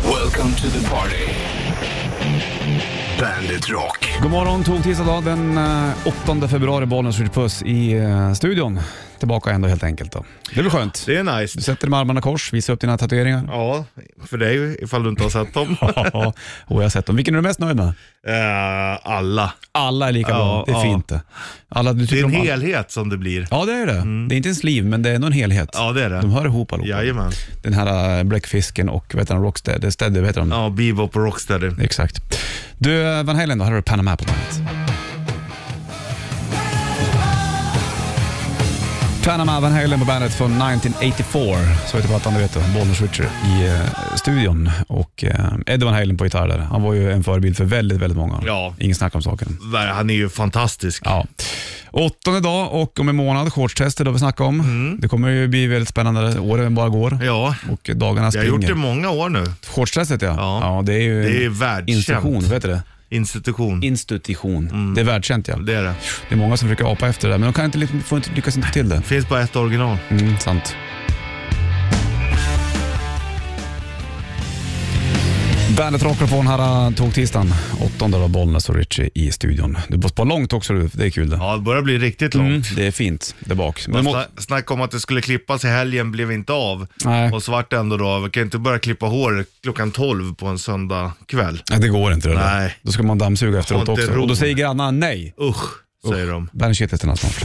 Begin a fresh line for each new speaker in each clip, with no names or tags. Welcome to the party. Bandit Rock.
God morgon, tog tisdag dag den eh, 8 februari, Bollnäs Ritch Puss i eh, studion. Tillbaka ändå helt enkelt då. Det blir skönt.
Det är
Du
nice.
sätter dig med armarna i kors, visar upp dina tatueringar.
Ja, för dig ifall du inte har sett dem.
Ja, och jag har sett dem. Vilken är du mest nöjd med?
Eh, alla.
Alla är lika
Ja,
bra, det är
ja.
fint det. Alla, du
Det är
tycker
en
om alla.
helhet som det blir.
Ja, det är det. Det är inte en sliv, men det är ändå en helhet.
Ja, det är det.
De hör ihop allihopa.
Jajamän.
Den här eh, Blackfisken och vad heter han, Rocksteady, Steady, vad heter de?
Ja, Bebop och Rocksteady.
Exakt. Du, eh, Van Halen då, här har du Panama på bandet. Panama Van Halen på bandet från 1984. Så heter plattan, det vet du. Bollnäs Richard i eh, studion. Och eh, Eddie Van Halen på gitarr där. Han var ju en förebild för väldigt, väldigt många.
Ja.
Ingen snack om saken.
Han är ju fantastisk.
Ja. Åttonde dag och om en månad shortstester, det har vi snackat om. Det kommer ju bli väldigt spännande åren bara går.
Mm. Ja,
Och dagarna
jag
springer.
har gjort det i många år nu.
Shortstestet ja.
Ja.
det är ju
Det är ju
en
världskänt.
institution, vet du det?
Institution.
institution.
Mm.
Det är världskänt ja.
Det är det.
Det är många som försöker apa efter det där, men de kan inte, liksom- får inte, lyckas inte till det.
Finns bara ett original.
Mm, sant. Bandet rockar på den här äh, tågtisdagen. Åttonde var Bollnäs och Richie i studion. Du får spara långt också du, det är kul det.
Ja, det börjar bli riktigt långt.
Mm, det är fint där bak. Men
Men
må-
sna- snack om att det skulle klippas i helgen blev inte av.
Nej.
Och svart ändå då. Vi kan inte börja klippa hår klockan 12 på en söndag kväll.
Nej, det går inte det där.
Nej.
Då ska man dammsuga efteråt
inte
också.
ro.
Och då säger grannarna nej.
Usch, säger de.
Bandet Shit efter snart.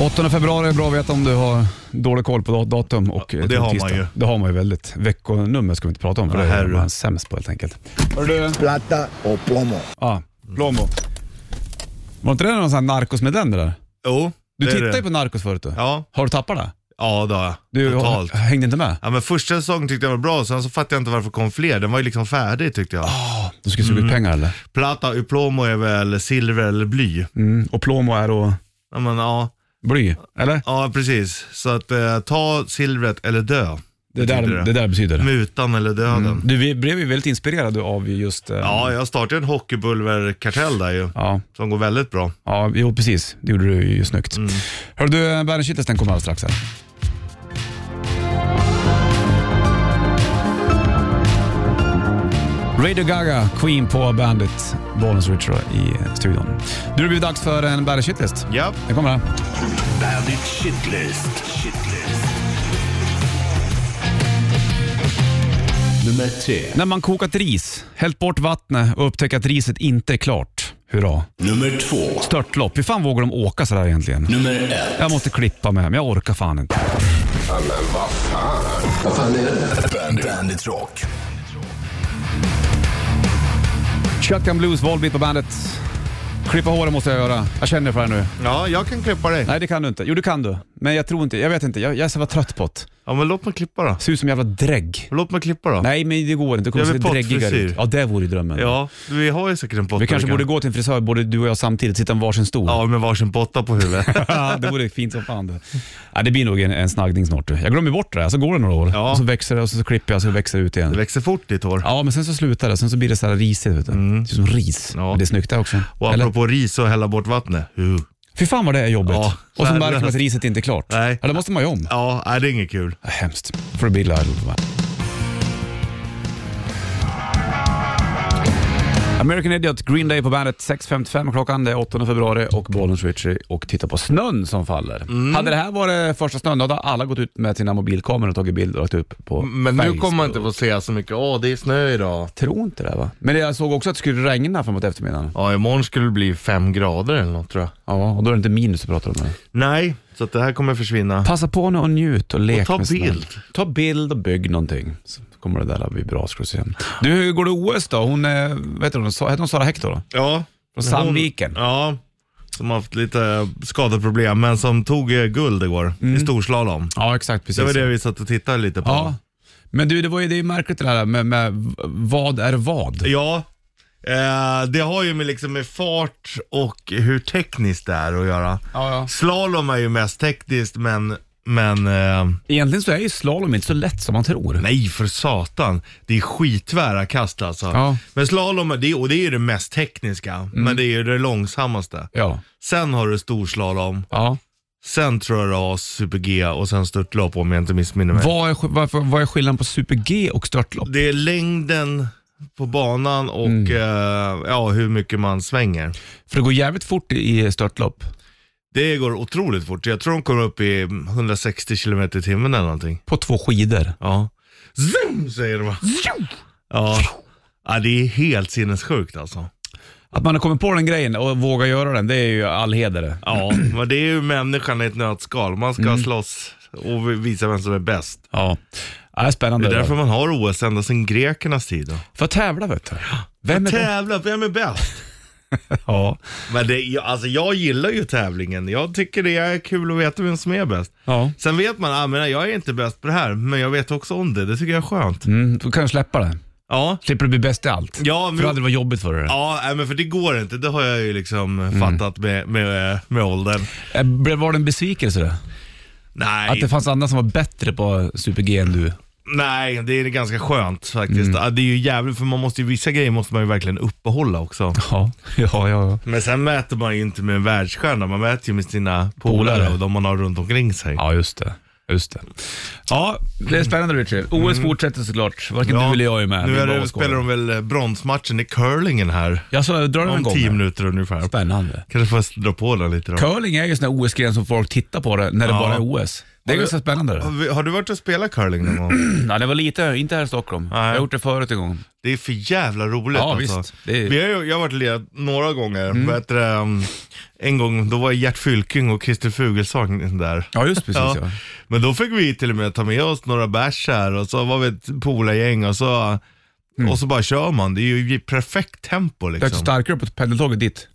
8 februari är bra att veta om du har dålig koll på dat- datum och eh,
och det har
tisdag.
man ju.
Det har man ju väldigt. Veckonummer ska vi inte prata om för
Ja,
det är
herre.
man sämst på helt enkelt. Hörru du?
plata o plomo.
Ja, Plomo. Var inte det någon sån här Narcos med den det där?
Jo,
Du
det är
tittade
det.
ju på Narcos förut du.
Ja,
Har du tappat det?
ja det har jag.
Du
Totalt.
har- hängde inte med?
Ja, men första säsongen tyckte jag var bra, sen så fattade jag inte varför det kom fler. Den var ju liksom färdig tyckte jag.
Du skulle
Mm.
suga ut pengar eller?
Plata och plomo är väl silver eller bly?
Mm. Och Plomo är då
Ja, men, ja,
bly, eller?
ja precis. Så att eh, ta silvret eller dö.
Det, där,
betyder
det där betyder det.
Mutan eller döden.
Du vi blev ju väldigt inspirerade av just... eh,
Ja, jag startade en hockeybulverkartell där ju.
ja.
Som går väldigt bra.
Ja, jo precis. Det gjorde du ju snyggt. Hör du, Bandit den kommer alldeles strax här. Radio Gaga, Queen på Bandit, Bollens Ritual i studion. Nu har det blivit dags för en Bandit Shitlist.
Ja.
Den kommer här.
Bandit Shitlist. Shitlist. Nummer tre.
När man kokat ris, hällt bort vattnet och upptäckt att riset inte är klart. Hurra.
Nummer två.
Störtlopp. Hur fan vågar de åka sådär egentligen?
Nummer ett.
Jag måste klippa mig, men jag orkar fan inte.
Bandit, Bandit Rock.
Shotgun Blues, Volbeat på bandet. Klippa håret måste jag göra. Jag känner för det nu.
Ja, jag kan klippa dig.
Nej, det kan du inte. Jo, det kan du. Men jag tror inte. Jag vet inte. Jag, jag är så jävla trött på det.
Ja, men låt mig klippa då.
Ser ut som en jävla drägg.
Låt mig klippa då.
Nej, men det går inte. Du kommer
Jag
se
vill
dräggigare
pottfrisyr.
ut. Ja, det vore ju drömmen.
Ja, vi har ju säkert en potta.
Vi kanske borde gå till en frisör, både du och jag samtidigt, sitta med varsin stol.
Ja, med varsin potta på huvudet.
Ja, det vore fint som fan det. Ja, det blir nog en, en snaggning snart. du. Jag glömmer bort det där, så går det några år.
Ja.
Och så växer det och så klipper jag och så växer det ut
det
igen.
växer fort ditt hår.
Ja, men sen så slutar det. Sen så blir det så här risigt. Vet du. Det ser ut som ris.
Mm. Ja.
Men Det är snyggt det också.
Och
Eller?
apropå ris och hälla bort vattnet. Uh.
Fy fan vad det är jobbigt.
Ja,
och så
värdelöst.
märker man att riset inte är klart.
Nej.
Ja, då måste man ju om.
Ja, nej, det är inget kul.
Ja, Hemskt. För Bill Idol på bandet. American Idiot, Green Day på bandet. 6.55 klockan, det är 8 februari och Bollens Richie och titta på snön som faller.
Mm.
Hade det här varit första snön, då hade alla gått ut med sina mobilkameror och tagit bilder och lagt upp på
Men nu
Facebook.
kommer man inte få se så mycket, åh det är snö idag.
Jag tror inte det va? Men jag såg också att det skulle regna framåt eftermiddagen.
Ja, imorgon skulle det bli fem grader eller något tror jag.
Ja, och då är det inte minus att prata om det.
Nej, så att det här kommer försvinna.
Passa på nu och njut och lek
Och ta
med snön.
bild.
Ta bild och bygg någonting. Så kommer det där att bli bra ska du se. Du, hur går det OS då? Hon, eh, vet du, hon, Sa- heter hon Sara Hector då?
Ja.
Från Sandviken.
Hon, ja, som haft lite skadeproblem, men som tog eh, guld igår i storslalom.
Ja, exakt. Precis.
Det var det vi satt och tittade lite på.
Ja. Men du, det var ju det är märkligt det där med, med v- vad är vad?
Ja, eh, det har ju med, liksom med fart och hur tekniskt det är att göra.
Ja, ja.
Slalom är ju mest tekniskt, men, men eh,
Egentligen så är ju slalom inte så lätt som man tror.
nej för satan. Det är skitvära kast alltså.
Ja.
Men slalom, är det, och det är ju det mest tekniska, men det är ju det långsammaste.
Ja.
Sen har du storslalom,
Ja.
Sen tror jag det var super-G och sen störtlopp om jag inte missminner mig.
Vad är, sk- varför, vad är skillnaden på super-G och störtlopp?
Det är längden på banan och eh, ja, hur mycket man svänger.
För det går jävligt fort i i störtlopp.
Det går otroligt fort. Jag tror de kommer upp i 160 km i timmen eller någonting.
På två skidor.
Ja. Zoom säger det bara. Ja. ja, det är helt sinnessjukt alltså.
Att man har kommit på den grejen och vågar göra den, det är ju all heder det.
Ja, men det är ju människan i ett nötskal. Man ska
Mm.
slåss och visa vem som är bäst.
Ja. Ja, det är
Det
spännande.
är därför man har OS ända sedan grekernas tid. Då.
För att tävla vet du. Vem är det?
Tävla, vem är bäst?
Ja.
Men det, jag- alltså jag gillar ju tävlingen. Jag tycker det är kul att veta vem som är bäst.
ja.
Sen vet man, ah, men jag är inte bäst på det här, men jag vet också om det. Det tycker jag är skönt.
Mm, då kan du släppa det.
Ja,
Slipper du bli bäst i allt.
ja,
För då
men,
hade det varit jobbigt för dig.
ja nej, men för det går inte. Det har jag ju liksom
Mm.
fattat med, med, med åldern.
Eh, blev- Var det en besvikelse det?
Nej,
Att det fanns andra som var bättre på super-G än du?
nej, det är ganska skönt faktiskt.
Mm.
Ja, Det är ju jävligt, för man måste ju, vissa grejer måste man ju verkligen uppehålla också.
Ja, ja, ja. ja.
Men sen mäter man ju inte med en världsstjärna, man mäter ju med sina
Polare.
polare och de man har runt omkring sig.
Ja, just det. Just det. Ja, det är spännande Richard. OS fortsätter såklart. Varken du eller jag är med. Vi
Mm. Nu är
bara
det,
åskådare.
spelar de väl eh, bronsmatchen i curlingen här.
Ja, så drar den
Om
igång.
tio
här.
minuter ungefär.
Spännande.
Kanske får jag dra på den lite då.
Curling är ju en sån där OS-gren som folk tittar på det när det
Ja.
bara är OS. Det är
Har du-
ganska spännande. Det.
Har vi- Har du varit och spelat curling någon gång?
Nej, det var lite, inte här i Stockholm.
Nej.
Jag har gjort det förut en gång.
Det är för jävla roligt
Ja,
alltså.
visst. Det är- Mm.
Vi har ju, jag har varit och lirat några gånger. Vad heter det, um, en gång då var Gert Fylking och Christer Fuglesang där.
Ja, just precis ja.
Men då fick vi till och med ta med oss några bärs här och så var vi ett polargäng och så,
Mm.
och så bara kör man. Det är ju i perfekt tempo
Det är
liksom.
starkare på pendeltåget dit.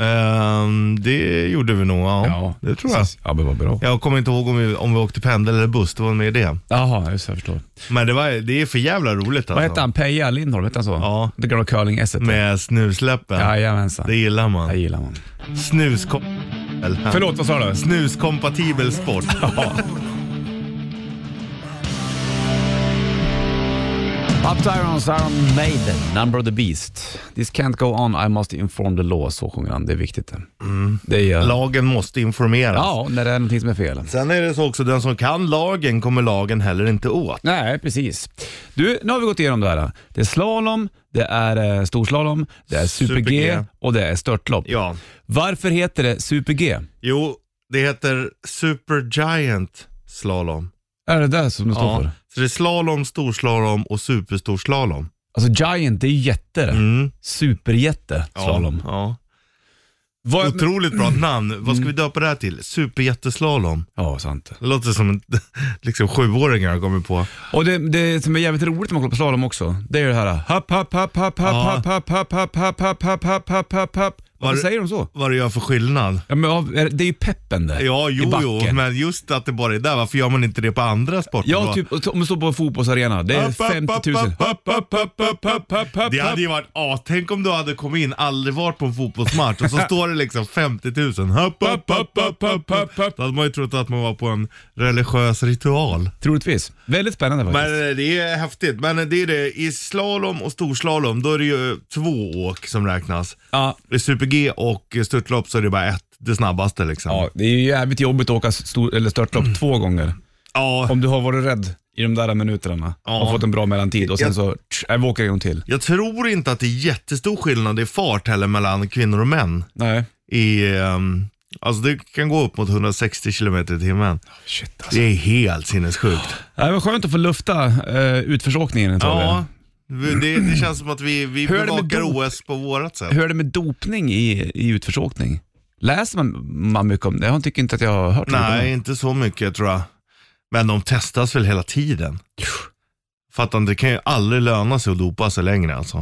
Ehm, det gjorde vi nog, ja. Det tror jag.
precis. Ja, men vad bra.
Jag kommer inte ihåg om vi, om vi åkte pendel eller buss, det var med det.
Jaha, just det, jag förstår.
Men det, var, det är för jävla roligt alltså.
Vad hette han? Peja Lindholm, hette han så?
Ja.
Det gamla curling-esset.
Med snusläppen.
E Jajamensan.
Det gillar man.
Det gillar man.
Snuskom... eller-
Förlåt, vad sa du?
Snuskompatibel sport.
Up to Irons, Iron Maiden, Number of the Beast. This can't go on, I must inform the law. Så sjunger han, det är viktigt. det.
Mm.
Det är, eh,
Lagen måste informeras.
ja, när det är någonting som är fel.
Sen är det så också, den som kan lagen kommer lagen heller inte åt.
Nej, precis. Du, nu har vi gått igenom det här. Det är slalom, det är eh, storslalom, det är super-G
Super-G.
och det är störtlopp.
Ja.
Varför heter det super-G?
Jo, det heter supergiant slalom.
Är det där som det står för?
Så det är slalom, storslalom och superstorslalom.
Alltså giant, det är ju jätte det.
Mm.
Superjätte,
Ja,
slalom.
Ja.
Vad-
Otroligt bra namn. Vad ska vi döpa det här till? Superjätteslalom.
Ja, sant.
Det låter som en- liksom sjuåringar har kommit på.
Och det, det som är jävligt roligt när man kollar på slalom också, det är ju det här happ, happ, happ, happ,
Ja.
happ, happ, happ, happ, happ, happ, happ, happ, happ, happ, happ. Varför
det-
säger de så?
Vad det gör för skillnad.
Ja, men av- är- det är ju peppen där
Ja,
i
jo, jo,
backen.
men just att det bara är där. Varför gör man inte det på andra sporter?
Ja,
då?
typ och så- om du står på en fotbollsarena, det är
Upp, upp,
50 000.
upp, upp, upp, upp, upp, upp,
Upp, upp,
Det hade
upp.
ju varit, ah, tänk om du hade kommit in, aldrig varit på en fotbollsmatch och så står det liksom 50 000. Hopp, hopp, hopp, hopp, hopp, hopp. Då hade man ju trott att man var på en religiös ritual.
Troligtvis. Väldigt spännande faktiskt.
Men eh, det är häftigt. Men det är det, i slalom och storslalom då är det ju två åk som räknas.
Ja,
I super-G och störtlopp så är det bara ett, det snabbaste liksom.
ja, det är ju jävligt jobbigt att åka stor, eller störtlopp två gånger.
Ja,
Om du har varit rädd i de där minuterna
Ja.
och fått en bra mellantid och sen så, tsch, jag åker en gång till.
Jag tror inte att det är jättestor skillnad i fart heller mellan kvinnor och män.
Nej.
I, ehm, alltså det kan gå upp mot 160 km i timmen.
Shit alltså.
Det är helt sinnessjukt.
Det var skönt att få lufta eh, utförsåkningen ett tag.
Ja, det, det känns som att vi, vi
Hur är det med
bevakar
dop?
OS på vårat sätt.
Hur är det med dopning i, i utförsåkning? Läser man, man mycket om det? Jag tycker inte att jag har hört mycket om
Nej,
det.
inte så mycket tror jag. Men de testas väl hela tiden. Fattar inte, det kan ju aldrig löna sig att dopa sig längre alltså.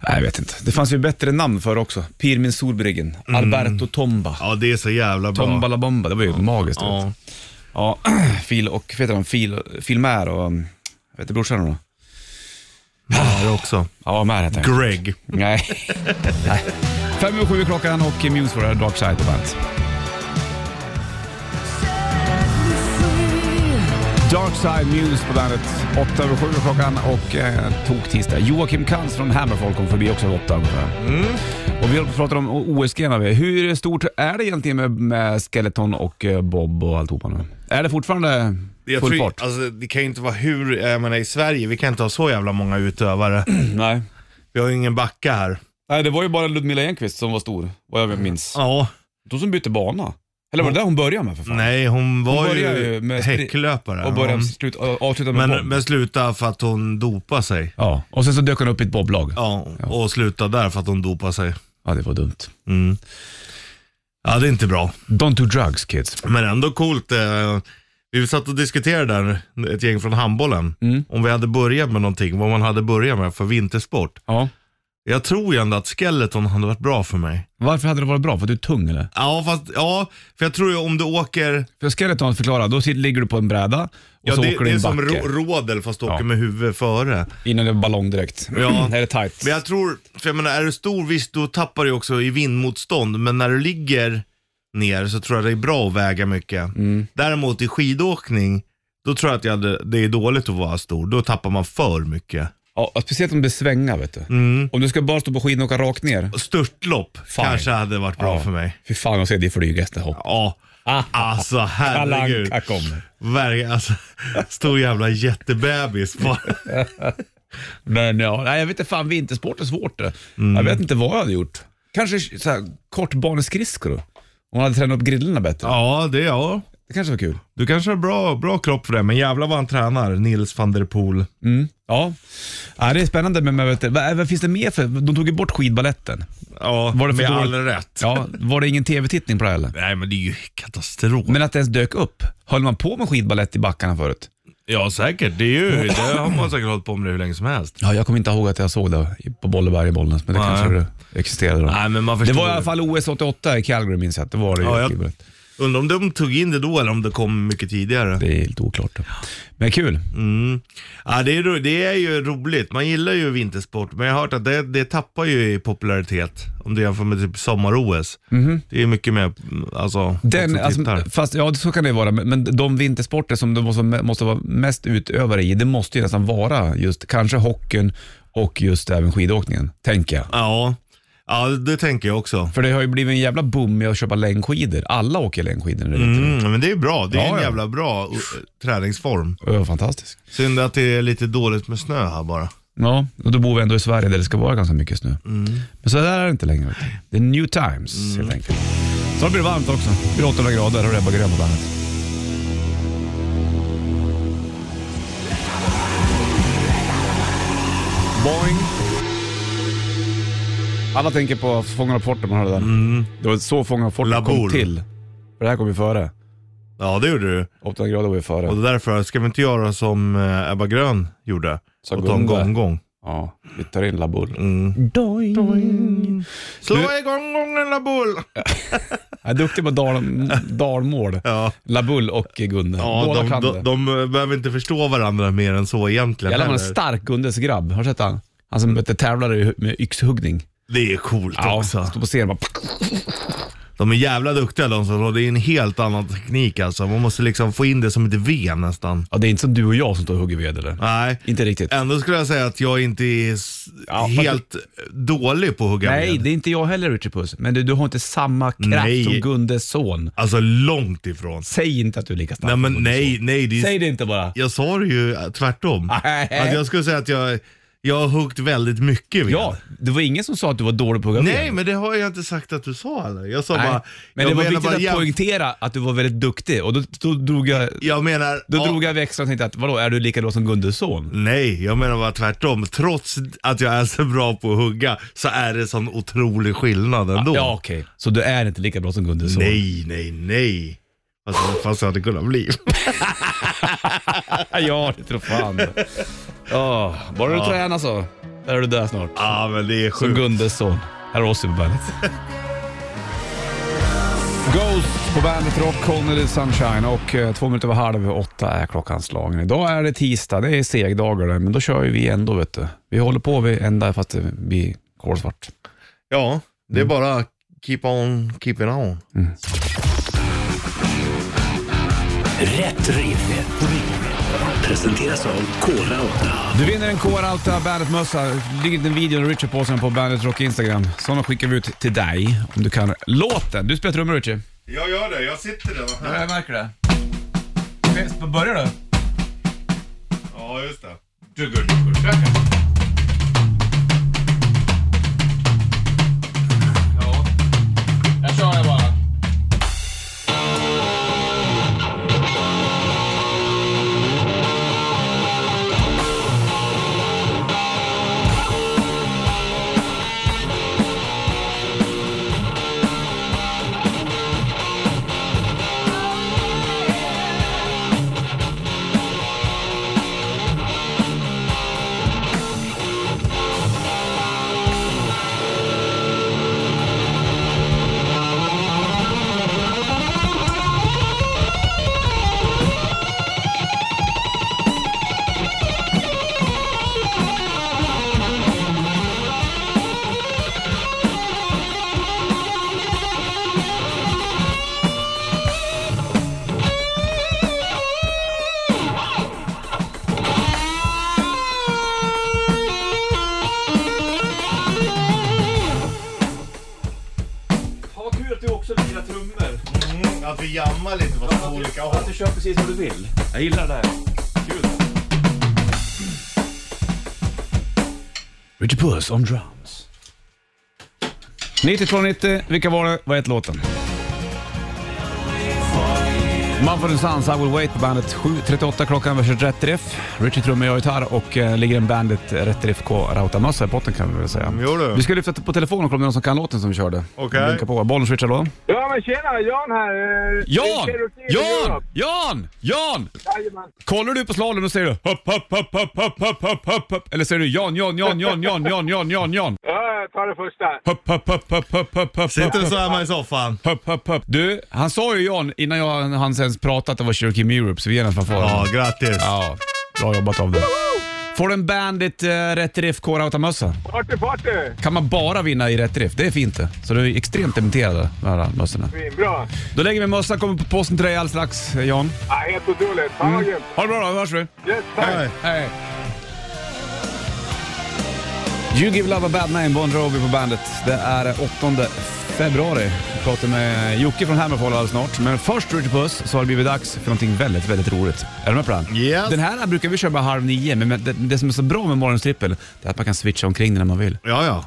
Nej, jag vet inte. Det fanns ju bättre namn för också. Pirmin Solbriggen, Alberto Tomba,
Ja, det är så jävla bra.
Tomba La Bomba. Det var ju magiskt. Ja.
Ja.
ja, Phil och, vad heter han, Phil, Phil Mär och, um, vad heter brorsan då?
det är också.
Ja, Mär heter han.
Greg.
Nej. Nej. Fem över sju är klockan och Muse for Dark Side på bandet. Dark Side News på bandet. 8 över 7 klockan och eh, tok tisdag. Joakim Kantz från Hammerfall kom förbi också vid 8 ungefär.
Mm.
Och vi håller på att prata om OSG. när vi- Hur stort är det egentligen med, med Skeleton och eh, Bob och alltihopa nu? Är det fortfarande
Jag
full
tror,
fart?
alltså, det kan ju inte vara hur, jag menar i Sverige, vi kan inte ha så jävla många utövare.
Nej.
Vi har ju ingen backa här.
Nej, det var ju bara Ludmilla Enqvist som var stor, vad jag minns.
Ja,
De som bytte bana. Eller var det där hon började med för fan?
nej hon var
började
ju
ju med spri-
häcklöpare.
Och började
Hon-
slut, avsluta med
men,
bob.
men slutade för att hon dopade sig.
Ja, och sen så dök hon upp i ett boblag. Ja.
Ja, och slutade där för att hon dopade sig.
det var dumt.
Mm. Ja, det är inte bra.
Don't do drugs kids.
Men ändå coolt. Eh, vi satt och diskuterade där, ett gäng från handbollen,
Mm.
om vi hade börjat med någonting, vad man hade börjat med för vintersport.
Ja.
Jag tror ju ändå att skeleton hade varit bra för mig.
Varför hade det varit bra? För att du är tung eller?
Ja, fast, ja för jag tror ju om du åker,
För skeleton förklara, då sitter, ligger du på en bräda och
ja,
så
det,
åker
det
du i
är
en
som
backe.
ro- rådel fast du åker
Ja.
med huvudet före.
Innan det är ballong direkt.
Ja.
det är tight.
Men jag tror, för jag menar är du stor visst då tappar du ju också i vindmotstånd, men när du ligger ner så tror jag det är bra att väga mycket. Däremot i skidåkning, då tror jag att jag hade, det är dåligt att vara stor, då tappar man för mycket.
Ja, och speciellt om det svängar vet du.
Mm.
Om du ska bara stå på skidor och åka rakt ner.
Störtlopp
Fine.
kanske hade varit bra
Ja.
för mig.
Fy fan, jag ser det flyga efter hopp.
Ja,
Ah,
alltså
Kalle
herregud.
Anka kommer.
Verkligen, alltså, stor jävla jättebebis. bara.
Men ja, nej, jag vet inte fan, vintersport är svårt det.
Mm.
Jag vet inte vad jag hade gjort. Kanske så här, kortbaneskridskor då? Om man hade tränat upp grillorna bättre.
Ja, det ja.
Det kanske var kul.
Du kanske har bra, bra kropp för det, men jävlar vad han tränar, Nils van der Poel.
Ja. ja, det är spännande. Men, men vet du, vad, vad finns det mer för? De tog ju bort skidballetten.
Ja,
Var det för
med all
dåligt?
rätt.
Ja, var det ingen tv-tittning på det heller?
Nej, men det är ju katastrof.
Men att det ens dök upp. Höll man på med skidballett i backarna förut?
Ja, säkert. Det, är ju, det har man säkert hållit på med hur länge som helst.
Ja, jag kommer inte ihåg att jag såg det i- på Bolleberg i Bollnäs, men det
Nej.
kanske det existerade då.
Nej, men man
det
förstår
var i
ju.
alla fall OS 88 i Calgary minns jag att det var det ju.
Ja, jag-
skidballett.
Undrar om de tog in det då eller om det kom mycket tidigare.
Det är helt oklart. Men kul.
Mm. Ja, det, är, ro- det är ju roligt. Man gillar ju vintersport, men jag har hört att det, det tappar ju i popularitet om du jämför med typ sommar-OS. Det är mycket mer, Mhm. alltså, folk
Den,
som
alltså,
tittar.
fast, ja, så kan det vara, men men de vintersporter som du måste, måste vara mest utövare i, det måste ju nästan vara just kanske hockeyn och just även skidåkningen, tänker jag.
Ja. ja, det tänker jag också.
För det har ju blivit en jävla boom med att köpa längdskidor. Alla åker längdskidor nu. Mm.
Mm, men det är ju bra. Det är
Ja,
en
ja.
jävla bra uh, träningsform.
Fantastiskt.
Synd att det är lite dåligt med snö här bara.
Ja, och då bor vi ändå i Sverige där det ska vara ganska mycket snö.
Mm.
Men så där är det inte längre. vet du. Det är new times helt enkelt. Så blir det varmt också. Det blir 800 grader och det är bara grön på bandet. Boing. Alla tänker på Fångarna på fortet, man hörde det där. Det var så Fångarna på fortet kom
Mm. Labour.
till. För det här kom ju före.
Ja, det gjorde du.
800 grader var ju före.
Och därför ska vi inte göra som eh, Ebba Grön gjorde
Sa
och ta en
Gunde.
gonggång.
Ja, vi tar in Labour.
Mm.
Doing. Doing.
Slå
Du-
igång gången Labull!
Jag är duktig på dal, dalmål.
Ja,
Labull och Gunde.
ja
Båda
de,
kan
de,
det.
de eh, behöver inte förstå varandra mer än så egentligen.
Jävlar vad en
heller.
stark Gundes grabb. Har du sett han? Han som mötte tävlare i- med yxhuggning.
Det är coolt också.
Stod på scen och bara...
De är jävla duktiga de som Det är en helt annan teknik alltså. Man måste liksom få in det som ett V nästan.
Ja, det är inte som du och jag som står och hugger ved eller?
Nej.
Inte riktigt.
Ändå skulle jag säga att jag inte är s-
Ja, fast-
helt dålig på att hugga
Nej,
ved.
det är inte jag heller Richard Puss. Men du, du har inte samma kraft
Nej.
som Gundes son.
Alltså långt ifrån.
Säg inte att du är lika stark
Nej men
som Gundes
nej,
son.
nej. Det är...
Säg det inte bara.
Jag sa det ju eh, tvärtom.
Nej.
Att jag skulle säga att jag, jag har huggt väldigt mycket ved.
Ja, det var ingen som sa att du var dålig på att hugga ved.
Nej, men det har jag inte sagt att du sa heller. Jag sa
Nej.
bara...
Men
jag
det var
menar
viktigt
bara
att
jäm-
poängtera att du var väldigt duktig och då, då drog jag
Jag menar...
Då
ja,
drog jag växeln och tänkte att vadå, är du lika då som Gundes son?
Nej, jag menar bara tvärtom. Trots att jag är så bra på att hugga så är det sån otrolig skillnad ändå.
Ja, okej. Så du är inte lika bra som Gundes son?
Nej, nej, nej. Fast, fast jag hade kunnat bli.
ja, det tror fan. Ja, Ah, bara du tränar så, där är du där snart.
Ja, men det är
Som
sjukt.
Gundes son. Här har Ozzy på bandet. Ghost på bandet Rock, Connelly Sunshine och eh, två minuter över halv åtta är klockan slagen. Idag är det tisdag, det är segdagar det, men då kör ju vi ändå vet du. Vi håller på vi ända fast det blir kolsvart.
Ja, det är bara keep on keeping on.
Rätt riff. Rätt riff. Presenteras av Kora 8.
Du vinner en Core Alta Bandet-mössa. Det ligger en video av Richard på sen på Bandet Rock Instagram. Sådana skickar vi ut till dig om du kan låten. Du spelar trummor Richie.
Jag gör det, jag sitter där. va?
Jag märker det. Börjar du?
Ja, just det.
Ja. Jag kör det bara. Ha kul att du också lirar trummor.
Mm, att vi jammar lite fast på olika håll.
kör precis vad du vill. Jag gillar det här. Kul. Richard Puss on drums. 9290, vilka var det? Vad hette låten? Mumford Sons, I will wait på bandet 7.38 klockan, vi kör rätt riff. Richard trummar, jag gitarr och eh, ligger en bandet rätt riff k mössa i botten kan vi väl säga.
Jo du.
Vi ska lyfta på telefonen och kolla om det är någon som kan låten som vi körde.
Okej.
Vinka på. Bollen switchar då.
Ja men tjena, Jan här. eh,
Jan!
Cherokee i
Jan!
Europe.
Jan! Jan!
Jajamän.
Kollar du på slalom och säger du hopp, hopp, hopp, hopp, hopp, hopp, hopp, hopp, hopp. Eller säger du Jan, Jan, Jan, Jan, Jan, Jan, Jan, Jan, Jan.
Ja, jag tar det första.
Hopp, hopp, hopp, hopp, hopp, hopp, hopp, hopp,
Sitter så hemma i soffan.
hopp, hopp, hopp. Du, han sa ju Jan innan jag han ens pratat att det var Cherokee Europe, så vi ger den en
Ja,
fanfar.
grattis.
Ja, bra jobbat av dig. Får du en Bandit eh, Rätt Riff K-Rauta-mössa?
Party party!
Kan man bara vinna i Rätt Riff, det är fint det. Så du är extremt imiterade, de här mössorna.
Svinbra.
Då lägger vi mössan, kommer på posten till dig alldeles strax, eh, Jan.
Ja, helt otroligt. Fan
Mm.
vad grymt.
Ha det bra då, hörs vi.
Yes, tack.
Hej.
Hej. You give love a bad name, Bon Jovi på bandet. Det är 8 februari. Vi pratar med Jocke från Hammerfall alldeles snart. Men först Richard Puss så har det blivit dags för någonting väldigt, väldigt roligt. Är du med på den?
Yes.
Den här brukar vi köra bara halv nio, men det, det som är så bra med morgonstrippel det är att man kan switcha omkring den när man vill.
Ja, ja.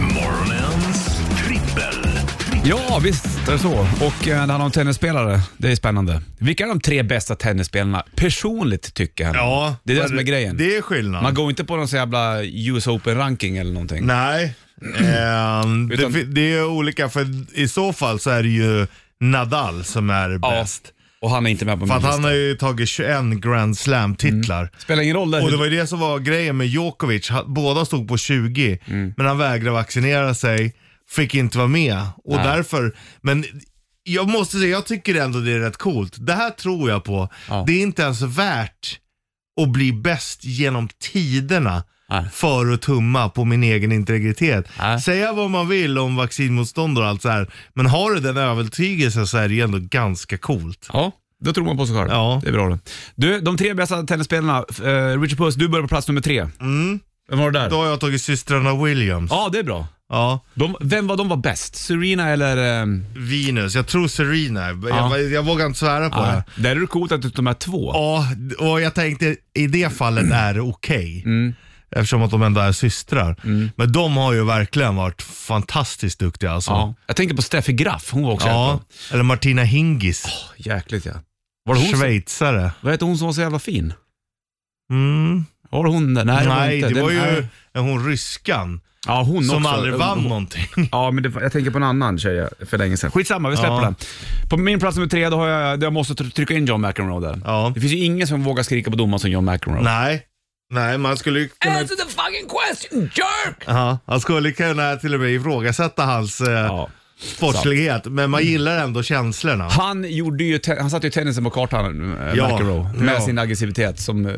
Morgonens trippel.
Ja, visst är det så. Och eh, det handlar om tennisspelare. Det är spännande. Vilka är de tre bästa tennisspelarna personligt tycker jag?
ja.
det är det som är grejen.
Det är skillnad.
Man går inte på någon så jävla US Open-ranking eller någonting.
Nej. Ehm, det,
Utan-
fi- det är olika, för i så fall så är det ju Nadal som är bäst.
Eh, Och han är inte med på
För
min
att han
lista.
har ju tagit 21 Grand Slam-titlar.
Spelar ingen roll där.
Och det var ju det som var grejen med Djokovic. Han- Båda stod på 20,
Mm.
men han vägrade vaccinera sig, fick inte vara med. Och därför, men jag måste säga, jag tycker ändå det är rätt coolt. Det här tror jag på.
Ja.
Det är inte ens värt att bli bäst genom tiderna
Nej.
för att tumma på min egen integritet.
Nej.
Säga vad man vill om vaccinmotstånd och allt så här, men har du den övertygelsen så är det ju ändå ganska coolt.
Ja, då tror man på sig själv.
Ja.
Det är bra det. Du, de tre bästa tennisspelarna. Eh, Richard Puss, du börjar på plats nummer tre.
Mm.
Vem var det där?
Då har jag tagit systrarna Williams.
Ja, det är bra.
Ja.
De, vem var de var bäst? Serena eller... ehm,
Venus, jag tror Serena. Jag,
Ja.
jag, vågar inte svära på
nej.
det.
ah, Där är det coolt att de är två.
Ja, och jag tänkte i det fallet är det okej.
Mm.
Eftersom att de ändå är systrar. Men de har ju verkligen varit fantastiskt duktiga alltså.
Ja.
Ja.
Jag tänker på Steffi Graf, hon var också ja.
Eller Martina Hingis,
Jäkligt ja. Var det hon som,
schweizare.
vad hette hon som var så jävla fin?
Mm.
Var det hon? Nej, det var,
Nej,
inte.
det
Den
var ju
är-
hon ryskan
Ja, hon
som
också.
aldrig vann
Hon-
någonting.
Ja, men det, jag tänker på en annan tjej för länge sedan. Skitsamma, vi släpper
Ja.
den. På min plats nummer tre, då har jag, där jag måste tr- trycka in John McEnroe där.
Ja.
Det finns ju ingen som vågar skrika på domaren som John McEnroe.
Nej. Nej, man skulle ju kunna...
Alltså-
Answer the fucking question, jerk! Ja, man skulle kunna till och med ifrågasätta hans... Eh,
Ja.
sportslighet, men man gillar ändå känslorna.
Han, gjorde ju, te- han satte ju tennisen på kartan, eh,
Ja,
McEnroe, med
ja.
sin aggressivitet som eh,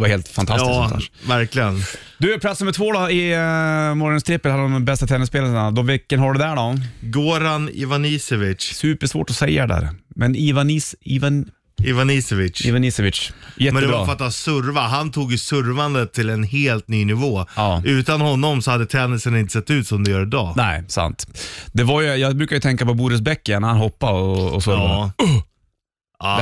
var helt fantastisk.
Ja,
någonstans.
verkligen.
Du, plats nummer två då i uh, morgonens trippel, här har de bästa tennisspelarna. Då, vilken har du där då?
Goran Ivanisevic.
Supersvårt att säga där. Men Ivanis, Ivan,
Ivanisevic.
Ivanisevic,
Men det
jättebra.
var för att han serva. Han tog ju servandet till en helt ny nivå.
Ja.
Utan honom så hade tennisen inte sett ut som det gör idag.
Nej, sant. Det var ju, jag brukar ju tänka på Boris Becker när han hoppade och, och så.
Ja. ja,
Uh! Lät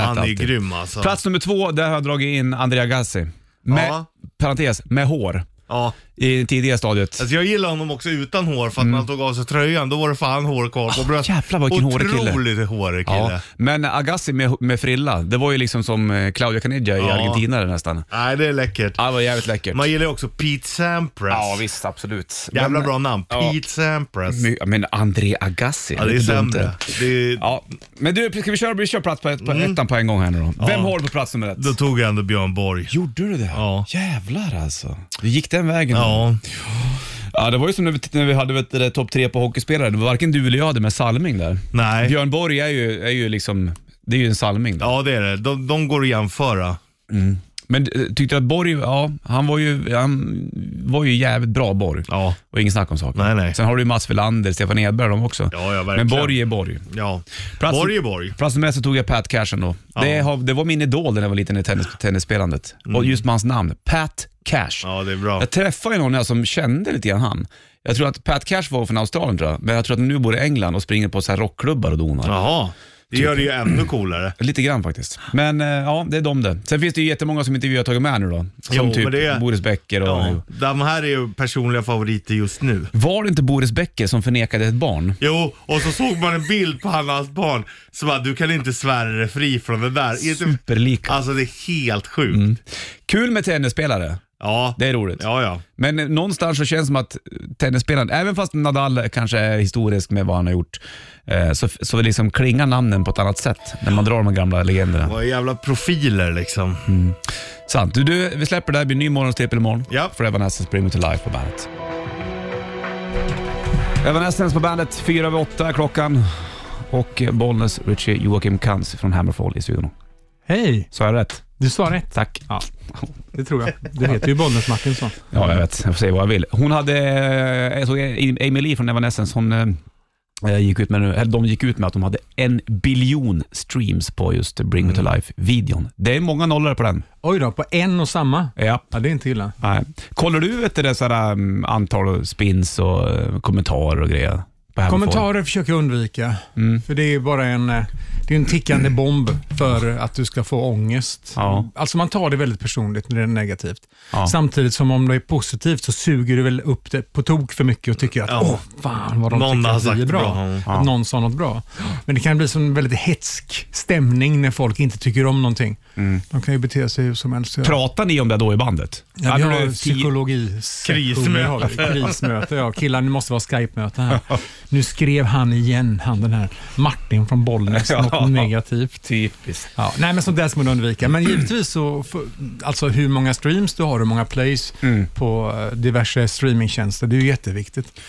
han är ju
alltid.
grym alltså.
Plats nummer två, där har jag dragit in Andrea Gassi. Med,
Ja.
parentes, med hår.
Ja.
I det tidiga stadiet.
Alltså jag gillar honom också utan hår för att när han tog av sig tröjan då var det fan hår kvar på bröstet.
Mm. Ah, jävlar, vilken hårig kille.
Otroligt hårig kille.
Ja. Men Agassi med, med frilla, det var ju liksom som eh, Claudia Caniggia i
Ja.
Argentina nästan.
Nej, det är läckert.
Ja, det var jävligt läckert.
Man gillar ju också Pete Sampras.
Ja, visst, absolut.
Jävla
Men-
bra namn.
Ja.
Pete Sampras.
My- Men André Agassi,
Ja, det är
lite dumt
sämre. Det är,
Ja, men du, ska vi köra, vi kör plats på, ett, på ettan på en gång här nu då. Vem har du på plats nummer ett?
Mm. Då tog jag ändå Björn Borg.
Gjorde du det?
Ja.
Jävlar alltså. Du gick den vägen.
Ja,
Ja, det var ju som när vi, när vi hade vet, du, det, topp tre på hockeyspelare. Det var varken du eller jag hade med Salming där.
nej.
Björn Borg är ju, är ju liksom, det är ju en Salming. Där.
Ja, det är det. De, de går att jämföra.
Men eh, tyckte du att Borg, ja, han var ju, han var ju jävligt bra Borg.
Ja.
Och ingen snack om saken.
Nej, nej.
Sen har du ju Mats Wilander, Stefan Edberg de också.
Ja, ja,
men
verkligen.
Borg är Borg.
Ja.
Plats-
Borg är Borg.
Plats nummer ett så tog jag Pat Cashen då. Det, har, det var min idol när jag var liten i tennis, tennisspelandet. Och just med hans namn, Pat Cash.
Mm. Ja, det är bra.
Jag träffade ju någon här som kände lite grann han. Jag tror att Pat Cash var från Australien tror jag, men jag tror att han nu bor i England och springer på så här rockklubbar och donar.
Jaha. Det gör det
Typ.
ju ännu coolare.
Lite grann faktiskt. Men eh, ja, det är de det. Sen finns det ju jättemånga som inte vi har tagit med nu då. Som
Jo,
typ
men det är-
Boris Becker och...
Ja. De här är ju personliga favoriter just nu.
Var det inte Boris Becker som förnekade ett barn?
Jo, och så såg man en bild på han och hans barn som bara, du kan inte svära dig fri från det där. Inte-
Superlik.
Alltså det är helt sjukt.
Kul med tennisspelare.
Ja.
Mm. Det är roligt.
Ja, ja.
Men eh, någonstans så känns det som att tennisspelaren, även fast Nadal kanske är historisk med vad han har gjort, eh, så, så liksom klingar namnen på ett annat sätt när man drar de här gamla legenderna.
Vad är jävla profiler liksom.
Mm. Sant. Du, du, vi släpper det här, det blir ny morgonstrippel imorgon.
Ja.
För Evanescence Bring Me To Life på bandet. Evanescence på bandet, fyra över åtta är klockan. Och eh, Bollnäs, Richie, Joakim Kantz från Hammerfall i studion.
Hej!
Så är det rätt?
Du sa rätt.
Tack.
Ja, det tror jag. Du heter ju Bollnäs Martinsson.
Ja, jag vet. Jag får säga vad jag vill. Hon hade, eh, jag såg Amy Lee från Evanescence, hon eh, gick ut med, nu- eller de gick ut med att de hade en biljon streams på just Bring Me
Mm.
To Life-videon. Det är många nollor på den.
Oj då, på en och samma.
Ja.
Ja, det är inte illa.
Nej. Kollar du vet, du, det sådär, mm, antal och spins och eh, kommentarer och grejer? På Hammerfall?
Kommentarer försöker jag undvika.
Mm.
För det är bara en, eh, det är en tickande bomb för att du ska få ångest.
Ja.
Alltså man tar det väldigt personligt när det är negativt.
Ja.
Samtidigt som om det är positivt så suger du väl upp det på tok för mycket och tycker att
Ja.
åh fan vad de
Någon
tycker
har
att vi
sagt
är
det
bra.
bra. Ja.
Att någon sa något bra. Men det kan bli som en väldigt hetsk stämning när folk inte tycker om någonting.
Mm.
De kan ju bete sig hur som helst. Jag-
Pratar ni om det då i bandet?
Ja, vi
Hade
har
du tio-
psykologi
Krismöte.
Krismöte, ja. Killar, nu måste vara Skype-möte här. Nu skrev han igen, han den här Martin från Bollnäs,
Ja.
något negativt.
Typiskt.
Ja, nej, men sånt där ska man undvika. Men givetvis så, för, alltså hur många streams du har, hur många plays på eh, diverse streamingtjänster, det är ju jätteviktigt.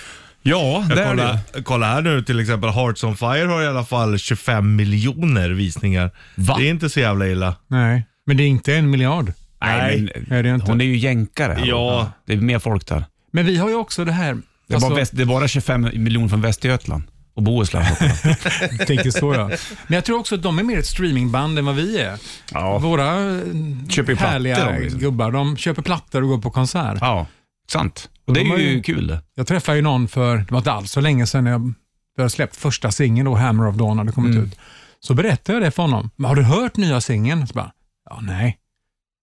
Ja, det är
Kolla,
det.
kolla här nu till exempel, Hearts on Fire har i alla fall 25 miljoner visningar.
Va?
Det är inte så jävla illa.
Nej, men det är inte en miljard.
Nej,
Nej, det är
men,
inte.
hon är ju jänkare. här.
Ja.
Det är mer folk där.
Men vi har ju också det här, alltså-
Det är, bara, väst, det är bara 25 miljoner från Västergötland och Bohuslän.
tänker så ja. Men jag tror också att de är mer ett streamingband än vad vi är.
ja.
Våra eh,
Köper ju plattor
härliga
de, liksom.
gubbar, de köper plattor och går på konsert.
ja, sant. Och det
De
är
har
ju
ju-
kul det.
Jag träffade ju någon för, det var inte alls så länge sedan jag jag släppt första singeln då, Hammer of Dawn hade
Mm.
kommit ut. Så berättade jag det för honom. Men har du hört nya singeln? Så bara, ja nej.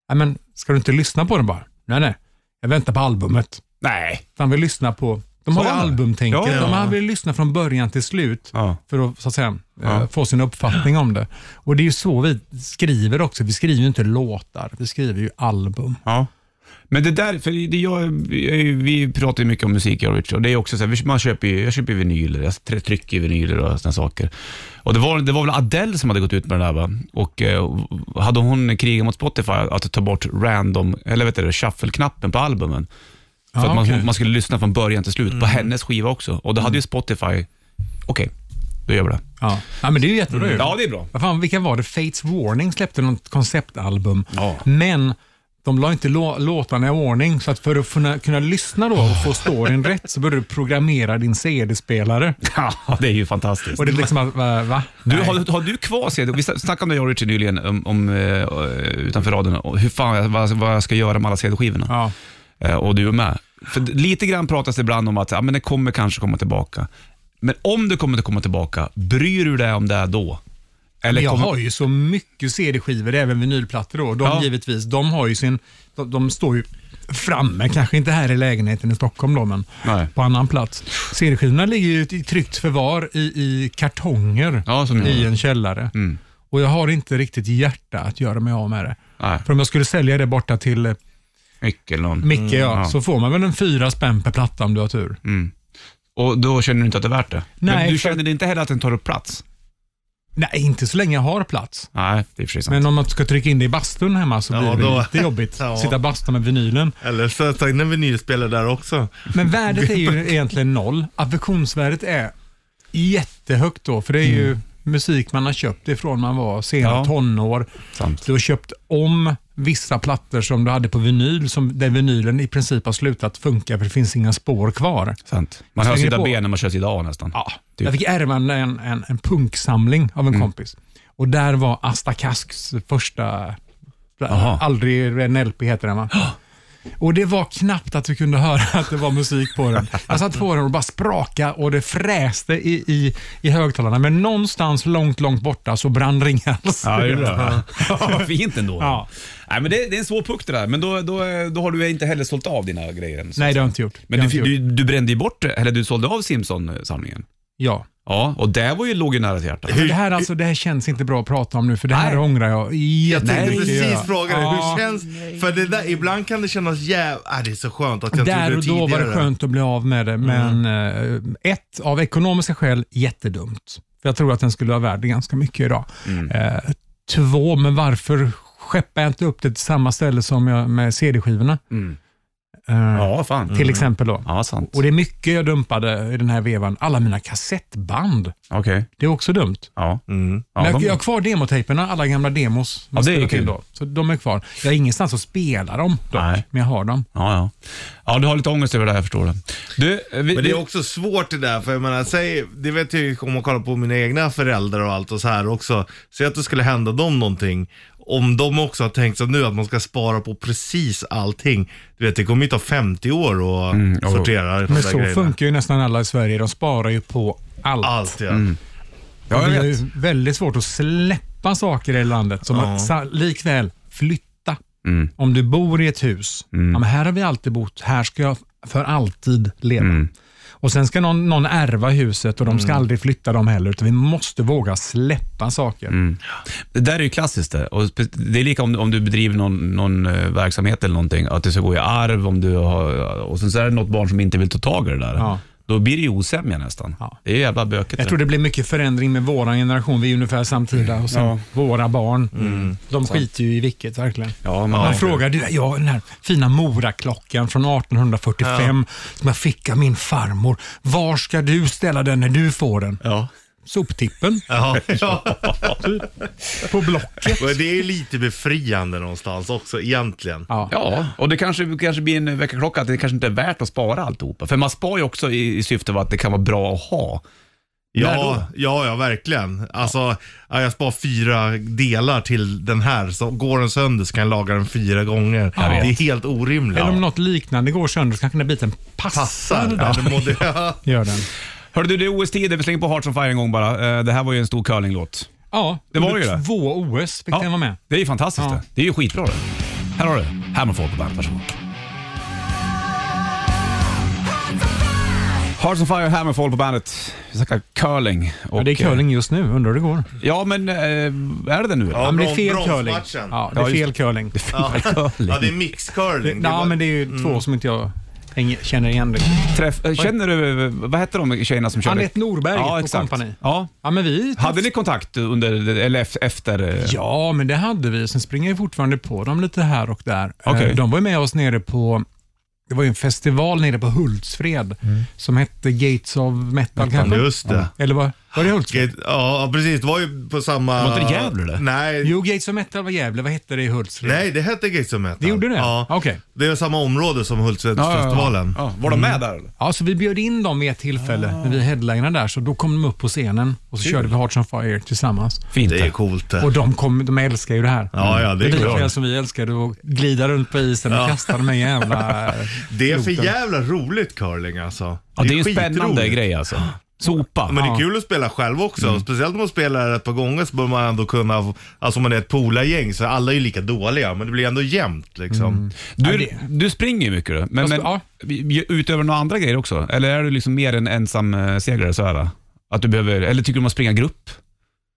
Nej men, ska du inte lyssna på den bara? Nej nej, jag väntar på albumet.
Nej.
Han vill lyssna på, de har
Så
ju
han det?
albumtänket.
Ja, ja.
De här vill lyssna från början till slut
Ja.
för att, så att säga, eh,
Ja.
få sin uppfattning om det. Och det är ju så vi skriver också. Vi skriver ju inte låtar, vi skriver ju album.
Ja. Men det där, för det jag, jag- vi pratar ju mycket om musik, jag och Richard, och det är också så här, vi- man köper ju, jag köper ju vinyler, jag try- trycker ju vinyler och sådana saker. Och det var, det var väl Adele som hade gått ut med det där va? Och eh, hade hon krigat mot Spotify att ta bort random, eller vet du det, shuffle-knappen på albumen. För
Ja,
att man,
okej.
man skulle lyssna från början till slut på hennes skiva också. Och då hade ju Spotify Okej, då gör vi det.
Ja. ja, men det är ju jättebra ju.
Mm. Ja, det är bra.
Vad fan, vilka var det? Fates Warning släppte något konceptalbum.
Ja.
Men de la inte lå- låtarna i ordning, så att för att kunna, kunna lyssna då och få storyn rätt så började du programmera din CD-spelare.
Ja, det är ju fantastiskt.
Och det är liksom, att, va? va?
Du,
Nej.
har, har du kvar CD? Vi snackade om det jag och Richard nyligen om, om, eh, utanför raden, och hur fan, jag- vad, vad jag ska göra med alla CD-skivorna.
Ja.
Eh, Och du är med. För d- lite grann pratas det ibland om att ja, men det kommer kanske komma tillbaka. Men om det kommer att komma tillbaka, bryr du dig om det då? Eller
jag
kommer-
har ju så mycket CD-skivor, även vinylplattor då. De
Ja.
givetvis, de har ju sin, de, de står ju framme, kanske inte här i lägenheten i Stockholm då, men
Nej.
på annan plats. CD-skivorna ligger ju i tryckt förvar i, i kartonger
Ja, som jag.
i en källare.
Mm.
Och jag har inte riktigt hjärta att göra mig av med det.
Nej,
För om jag skulle sälja det borta till eh,
mycket eller någon.
Micke, ja,
Mm, ja. Mm.
så får man väl en fyra spänn per platta om du har tur.
Och då känner du inte att det är värt det?
Nej,
Men du
för-
känner inte heller att den tar upp plats?
Nej, inte så länge jag har plats.
Nej, det är precis sant.
Men om man ska trycka in det i bastun hemma så
Ja,
blir det
då-
lite jobbigt.
Ja.
Sitta och basta med vinylen.
Eller så ta in en vinylspelare där också.
Men värdet är ju egentligen noll. Affektionsvärdet är jättehögt då, för det är ju musik man har köpt ifrån man var sena
Mm. Ja.
tonår.
Sant.
Du har köpt om vissa plattor som du hade på vinyl, som, där vinylen i princip har slutat funka för det finns inga spår kvar.
sant. Man hör
Slänger
sida
på.
B när man kör sida A nästan.
Ja,
Typ.
Jag fick ärva en, en, en, en punksamling av en kompis. Och där var Asta Kasks första...
Jaha.
Aldrig en LP heter den va? Och det var knappt att du kunde höra att det var musik på den. Jag satt på den och bara spraka och det fräste i, i, i högtalarna. Men någonstans långt, långt borta så brann Ringhals.
Ja, det är bra. Vad fint ändå.
Ja.
Nej, men det, det är en svår puck det där, men då, då, då har du inte heller sålt av dina grejer än. så
Nej,
att säga.
det har jag inte gjort. Det
Men
har
du,
jag inte gjort.
du, du brände ju bort, eller du sålde av Simpson-samlingen.
Ja.
Ja, och det var ju, låg ju nära till hjärtat.
Men det, här, alltså, det här känns inte bra att prata om nu, för det här
Nej.
ångrar jag
Jag tänkte
jättemycket.
precis
Ja.
fråga dig,
Ja.
hur känns... För det där, ibland kan det kännas jävligt... Ah, det är så skönt att jag inte
Där
gjorde
och
det
då
tidigare.
var det skönt att bli av med det, men
Mm.
eh, ett, av ekonomiska skäl, jättedumt. För jag tror att den skulle vara värd ganska mycket idag.
Mm.
Eh, två, men varför skeppar jag inte upp det till samma ställe som jag med CD-skivorna? Eh,
Mm. Ja, fan.
Till exempel då.
Ja, sant.
Och det är mycket jag dumpade i den här vevan. Alla mina kassettband,
Okej.
det är också dumt.
Ja.
Mm.
Ja,
men jag,
de-
jag har kvar demotejperna, alla gamla demos. man
Ja, det är
spelar till
kul.
Då. Så de är kvar. Jag har ingenstans att spela dem dock,
Nej.
men jag har dem.
Ja, ja. ja, du har lite ångest över det här jag förstår det. Du, vi,
Men det är också svårt det där, för jag menar, säg, det vet jag ju om man kollar på mina egna föräldrar och allt och så här också. Säg att det skulle hända dem någonting. Om de också har tänkt som nu att man ska spara på precis allting. Du vet, det kommer ju ta 50 år att
ja.
sortera de
Men
där
så
grejerna.
funkar ju nästan alla i Sverige. De sparar ju på allt.
Allt ja.
ja,
Vi
jag
har ju
vet.
väldigt svårt att släppa saker i landet. Som att sa- likväl flytta. Om du bor i ett hus. Ja, men här har vi alltid bott. Här ska jag för alltid leva. Och Sen ska någon, någon ärva huset och de ska aldrig flytta dem heller. Utan vi måste våga släppa saker.
Det där är ju klassiskt det. Och spe- det är lika om, om du bedriver någon, någon eh, verksamhet eller någonting, att det ska gå i arv om du har, och sen så är det något barn som inte vill ta tag i det där.
Ja.
Då blir det ju osämja nästan.
Ja.
Det är ju jävla böket.
Jag
det.
tror det blir mycket förändring med våran generation. Vi är ungefär samtida. Och sen
Ja.
våra barn. De skiter ju i vilket verkligen.
Mm. Ja, man,
Man frågar, du, jag har den här fina Moraklockan från 1845 som jag fick av min farmor. Var ska du ställa den när du får den?
Ja.
Soptippen
Ja, ja.
på Blocket.
Och det är ju lite befriande någonstans också egentligen.
Ja.
Ja, och det kanske, kanske blir en väckarklocka att det kanske inte är värt att spara alltihopa. För man sparar ju också i, i syfte av att det kan vara bra att ha. När då?
Ja, ja, ja verkligen. Alltså, ja, jag sparar fyra delar till den här. Så går den sönder så kan jag laga den fyra gånger.
Jag
det
vet.
är helt orimligt.
Eller om något liknande går sönder så kanske den här biten passar.
passar.
där.
Ja, det ja.
Gör den.
Hörde du, det är OS-tider. Vi slänger på Hearts on Fire en gång bara. Eh, Det här var ju en stor curlinglåt.
Ja,
Det var ju
under
det.
Två OS fick den vara med.
Det är ju fantastiskt
Ja.
det. Det är ju skitbra det. Här har du Hammerfall på bandet. Varsågod. Hearts on Fire, Hammerfall på bandet. Vi snackar curling. Och,
Ja, det är curling just nu, undrar hur det går.
eh, Ja, men eh, är det det nu?
Ja,
Ja, men det är
bron-
fel curling.
bronsmatchen.
Ja, det är
Ja, just-
fel curling.
Ja. curling.
ja, det är mixcurling. Mm, Det
Ja,
var-
men det är ju två som inte jag hänger- känner igen riktigt.
Träff, eh, känner du, eh, vad hette de tjejerna som körde?
Anette Norberg
ja,
och
exakt.
kompani.
Ja,
Ja, men vi
Hade ni kontakt under, eller ef- efter? eh,
Ja, men det hade vi. Sen springer jag fortfarande på dem lite här och där.
Okej.
Eh, De var ju med oss nere på det var ju en festival nere på Hultsfred som hette Gates of Metal kanske?
Mm. Just det.
Eller var, var det Hultsfred?
Gate- Ja, precis. Det var ju på samma...
Var inte det Gävle, det?
Nej.
Jo, Gates of Metal var Gävle. Vad hette det i Hultsfred?
Nej, det hette Gates of Metal.
Det gjorde det?
Ja.
Okej.
Det är samma område som Hultsfredsfestivalen.
Ja, var de
Mm.
med där eller?
Ja, så vi bjöd in dem vid ett tillfälle
Ah.
när vi headlinade där. Så då kom de upp på scenen och så körde vi Hearts on Fire tillsammans.
Fint.
Det är coolt det.
Och de, kom, de älskar ju det här.
Ja, ja, det är
det
klart.
lika väl som vi älskade att glida runt på isen och kasta de här jävla...
Det är för
kloten.
jävla roligt curling alltså.
Ja, det är ju en spännande
skitroligt.
grej alltså. Sopa.
Men det
Ja.
är kul att spela själv också. Speciellt om man spelar ett par gånger så bör man ändå kunna, alltså om man är ett polargäng så alla är ju lika dåliga men det blir ändå jämnt liksom.
Du,
Ja, det-
du springer ju mycket du. Men,
Jag
men
sp- ja.
vi- utöver några andra grejer också? Eller är du liksom mer en ensam eh, seglare så här? Att du behöver, eller tycker du om att springa grupp?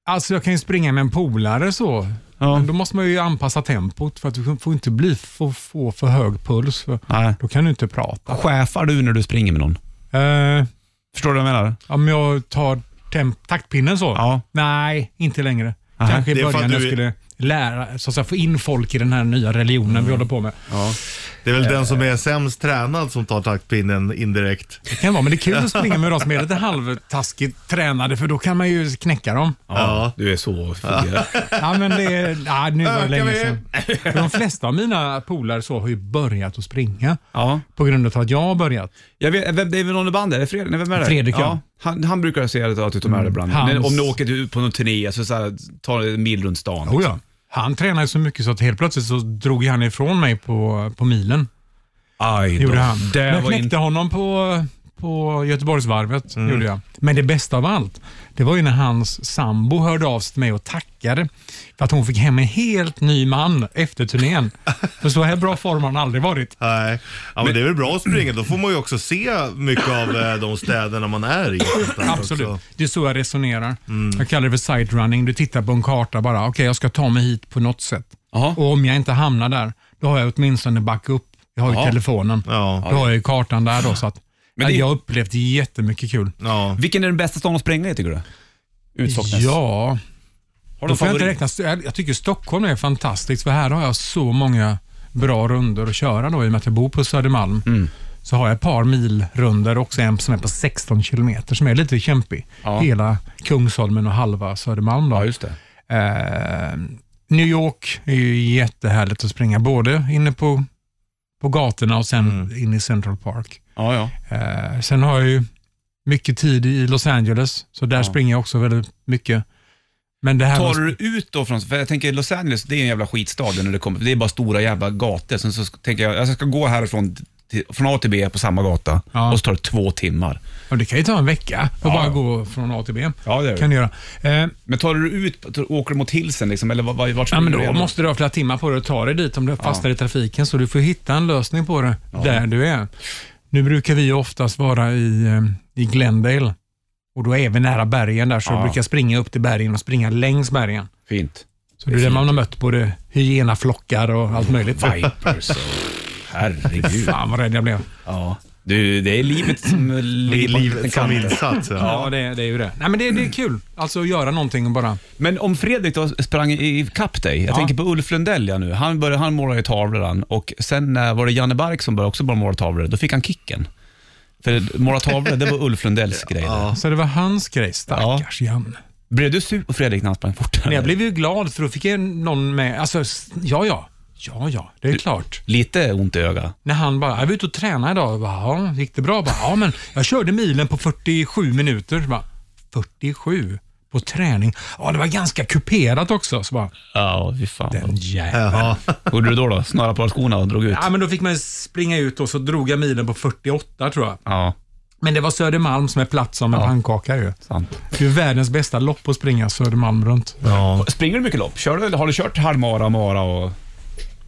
Alltså jag kan ju springa med en polare så.
Ja.
Men då måste man ju anpassa tempot för att du får inte bli få, få för hög puls. För
Nej.
då kan du inte prata.
Chefar du när du springer med någon?
Eh,
Förstår du vad jag menar?
om jag tar temp- taktpinnen så?
Ja.
Nej, inte längre.
Nej,
Kanske
det
i
är för
början
att
när jag
du är- Mm.
skulle lära, så att säga, få in folk i den här nya religionen vi håller på med.
Det är väl den som är sämst tränad som tar taktpinnen indirekt.
Det kan vara, men det är kul att springa med de som är lite halvtaskigt tränade för då kan man ju knäcka dem.
Ja.
Du är så fungerad.
Ja, men det är, ja, nu var det
Ökar
länge
vi?
sedan. För de flesta av mina polare så har ju börjat att springa
ja.
på grund av att jag har börjat.
Jag vet, vem, det är väl någon i bandet? Är det Fredrik? Nej, vem är det?
Fredrik, ja. Mm.
Han, han brukar säga det, att du tar med dig ibland.
Hans-
Men Om ni åker ut på någon turné, alltså så, så här, tar en mil runt stan. liksom.
Oh ja. Han tränade ju så mycket så att helt plötsligt så drog han ifrån mig på, på milen.
Aj då.
gjorde han.
Det
jag
var
knäckte
inte...
honom på, på Göteborgsvarvet. Gjorde jag. Men det bästa av allt, det var ju när hans sambo hörde av sig till mig och tackade för att hon fick hem en helt ny man efter turnén. för så här bra form har han aldrig varit.
Nej. Ja, men det är väl bra att springa. Då får man ju också se mycket av eh, de städerna man är i.
Absolut.
Också. Mm.
Det är så jag resonerar. Jag kallar det för sight running. Du tittar på en karta bara. Okej, jag ska ta mig hit på något sätt.
Jaha.
Och om jag inte hamnar där, då har jag åtminstone backup. Jag har ju
Ja.
telefonen.
Ja.
Då har jag ju kartan där då. Så att,
Men det-
Jag har upplevt jättemycket kul.
Ja.
Vilken är den bästa stan att springa i tycker du? Ut Socknes.
Ja,
Har du
då
en
får jag inte
favorit?
räkna. Jag, jag tycker Stockholm är fantastiskt för här har jag så många bra runder att köra då i och med att jag bor på Södermalm.
Mm.
Så har jag ett par mil runder också, en som är på 16 kilometer som är lite kämpig.
Ja.
Hela Kungsholmen och halva Södermalm. Då.
Ja, just det.
Eh, New York är ju jättehärligt att springa, både inne på, på gatorna och sen
Mm.
in i Central Park.
Ja, ja.
Eh, sen har jag ju mycket tid i Los Angeles, så där springer jag också väldigt mycket. Men det här
Tar
med-
du ut då från, för jag tänker Los Angeles, det är en jävla skitstad när det kommer, det är bara stora jävla gator. Sen så sk- tänker jag, alltså jag ska gå härifrån, till, från A till B på samma gata
Ja.
och så tar det två timmar.
Ja, det kan ju ta en vecka att
Ja.
bara gå från A till B.
Ja, det är det.
kan du göra. Eh,
Men tar du ut, tar, åker du mot Hillsen liksom, eller vart, vart
ja, men
du?
då
igen?
måste du ha flera timmar på dig att ta dig dit om du fastnar i trafiken, så du får hitta en lösning på det där du är. Nu brukar vi ju oftast vara i, eh, i Glendale och då är vi nära bergen där, så
Ja.
jag brukar springa upp till bergen och springa längs bergen.
Fint.
Så det är där man har mött både hyenaflockar och allt möjligt.
Vipers och... Herregud.
Fan vad rädd jag blev.
Ja. Du, det är livet som ligger på en
Livet som
kant.
insats. Ja.
Ja, det, det är ju det. Nej, men det, det är kul. Alltså att göra någonting och bara...
Men om Fredrik då sprang i i kapp dig, jag
Ja.
tänker på Ulf Lundell ja, nu, han, började, han målade ju tavlor han och sen eh, var det Janne Bark som började också bara måla tavlor, då fick han kicken. För måla tavlor, det var Ulf Lundells grej. där.
Så det var hans grej. Stackars Janne.
Blev du sur på Fredrik när han sprang fortare?
Men jag blev ju glad för då fick jag någon med. Alltså, s- ja, ja. Ja, ja, det är klart.
Lite ont i ögat.
När han bara, jag var ute och tränade idag. Jag bara, ja, gick det bra? Jag Bara, ja, men jag körde milen på 47 minuter. Jag Bara, 47 på träning? Ja, det var ganska kuperat också. Så bara,
Ja, fy fan.
den jäveln.
Ja.
Gjorde du då då? Snöra på skorna och drog ut?
Ja, men då fick man springa ut och så drog jag milen på 48 tror jag.
Ja,
Men det var Södermalm som är platt som en pannkaka ju.
sant.
Det är ju världens bästa lopp att springa Södermalm runt.
Ja.
Springer du mycket lopp? Kör du, eller har du kört halvmara, mara och...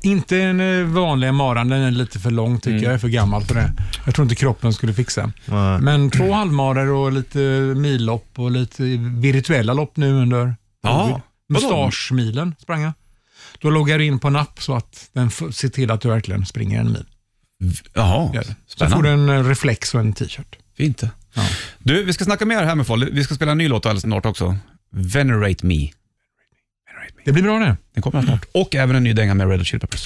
Inte en eh, vanlig maran, den är lite för lång
Mm.
tycker jag. Jag är för gammal för det. Jag tror inte kroppen skulle fixa.
Nej.
Men två halvmaror och lite millopp och lite virtuella lopp nu under
Ja,
covid.
vadå?
Mustaschmilen sprang jag. Då loggar du in på en app så att den f- ser till att du verkligen springer en mil.
Jaha,
Det är det. Så
spännande.
får du en eh, reflex och en t-shirt.
Fint det. Du, vi ska snacka mer här med folk. Vi ska spela en ny låt alldeles snart också. Venerate Me.
Det blir bra det.
Den kommer snart. Och även en ny dänga med Red Hot Chili Peppers.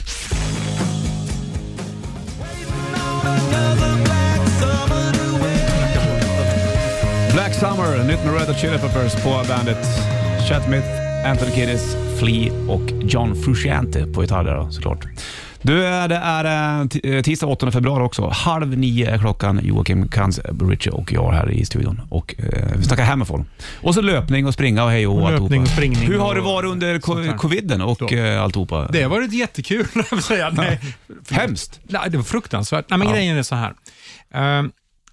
Nytt med Red Hot Chili Peppers på bandet. Chatmith, Anthony Kiddis, Flea och John Frusciante på gitarr där då, såklart. Du, eh, det är eh, t- eh, tisdag 8 februari också. Halv nio är klockan. Joakim Kans, Richie och jag här i studion. Och, eh, vi snackar Hammerfall. Och så löpning och springa och hej och hå,
Löpning
alltihopa.
och springning
Hur har det
och
varit under co-
sånt här.
coviden och
Ja.
eh, alltihopa?
Det var varit jättekul, att säga. Nej,
Hemskt.
Nej, det var fruktansvärt. Nej, men
Ja.
Grejen är så här. Eh,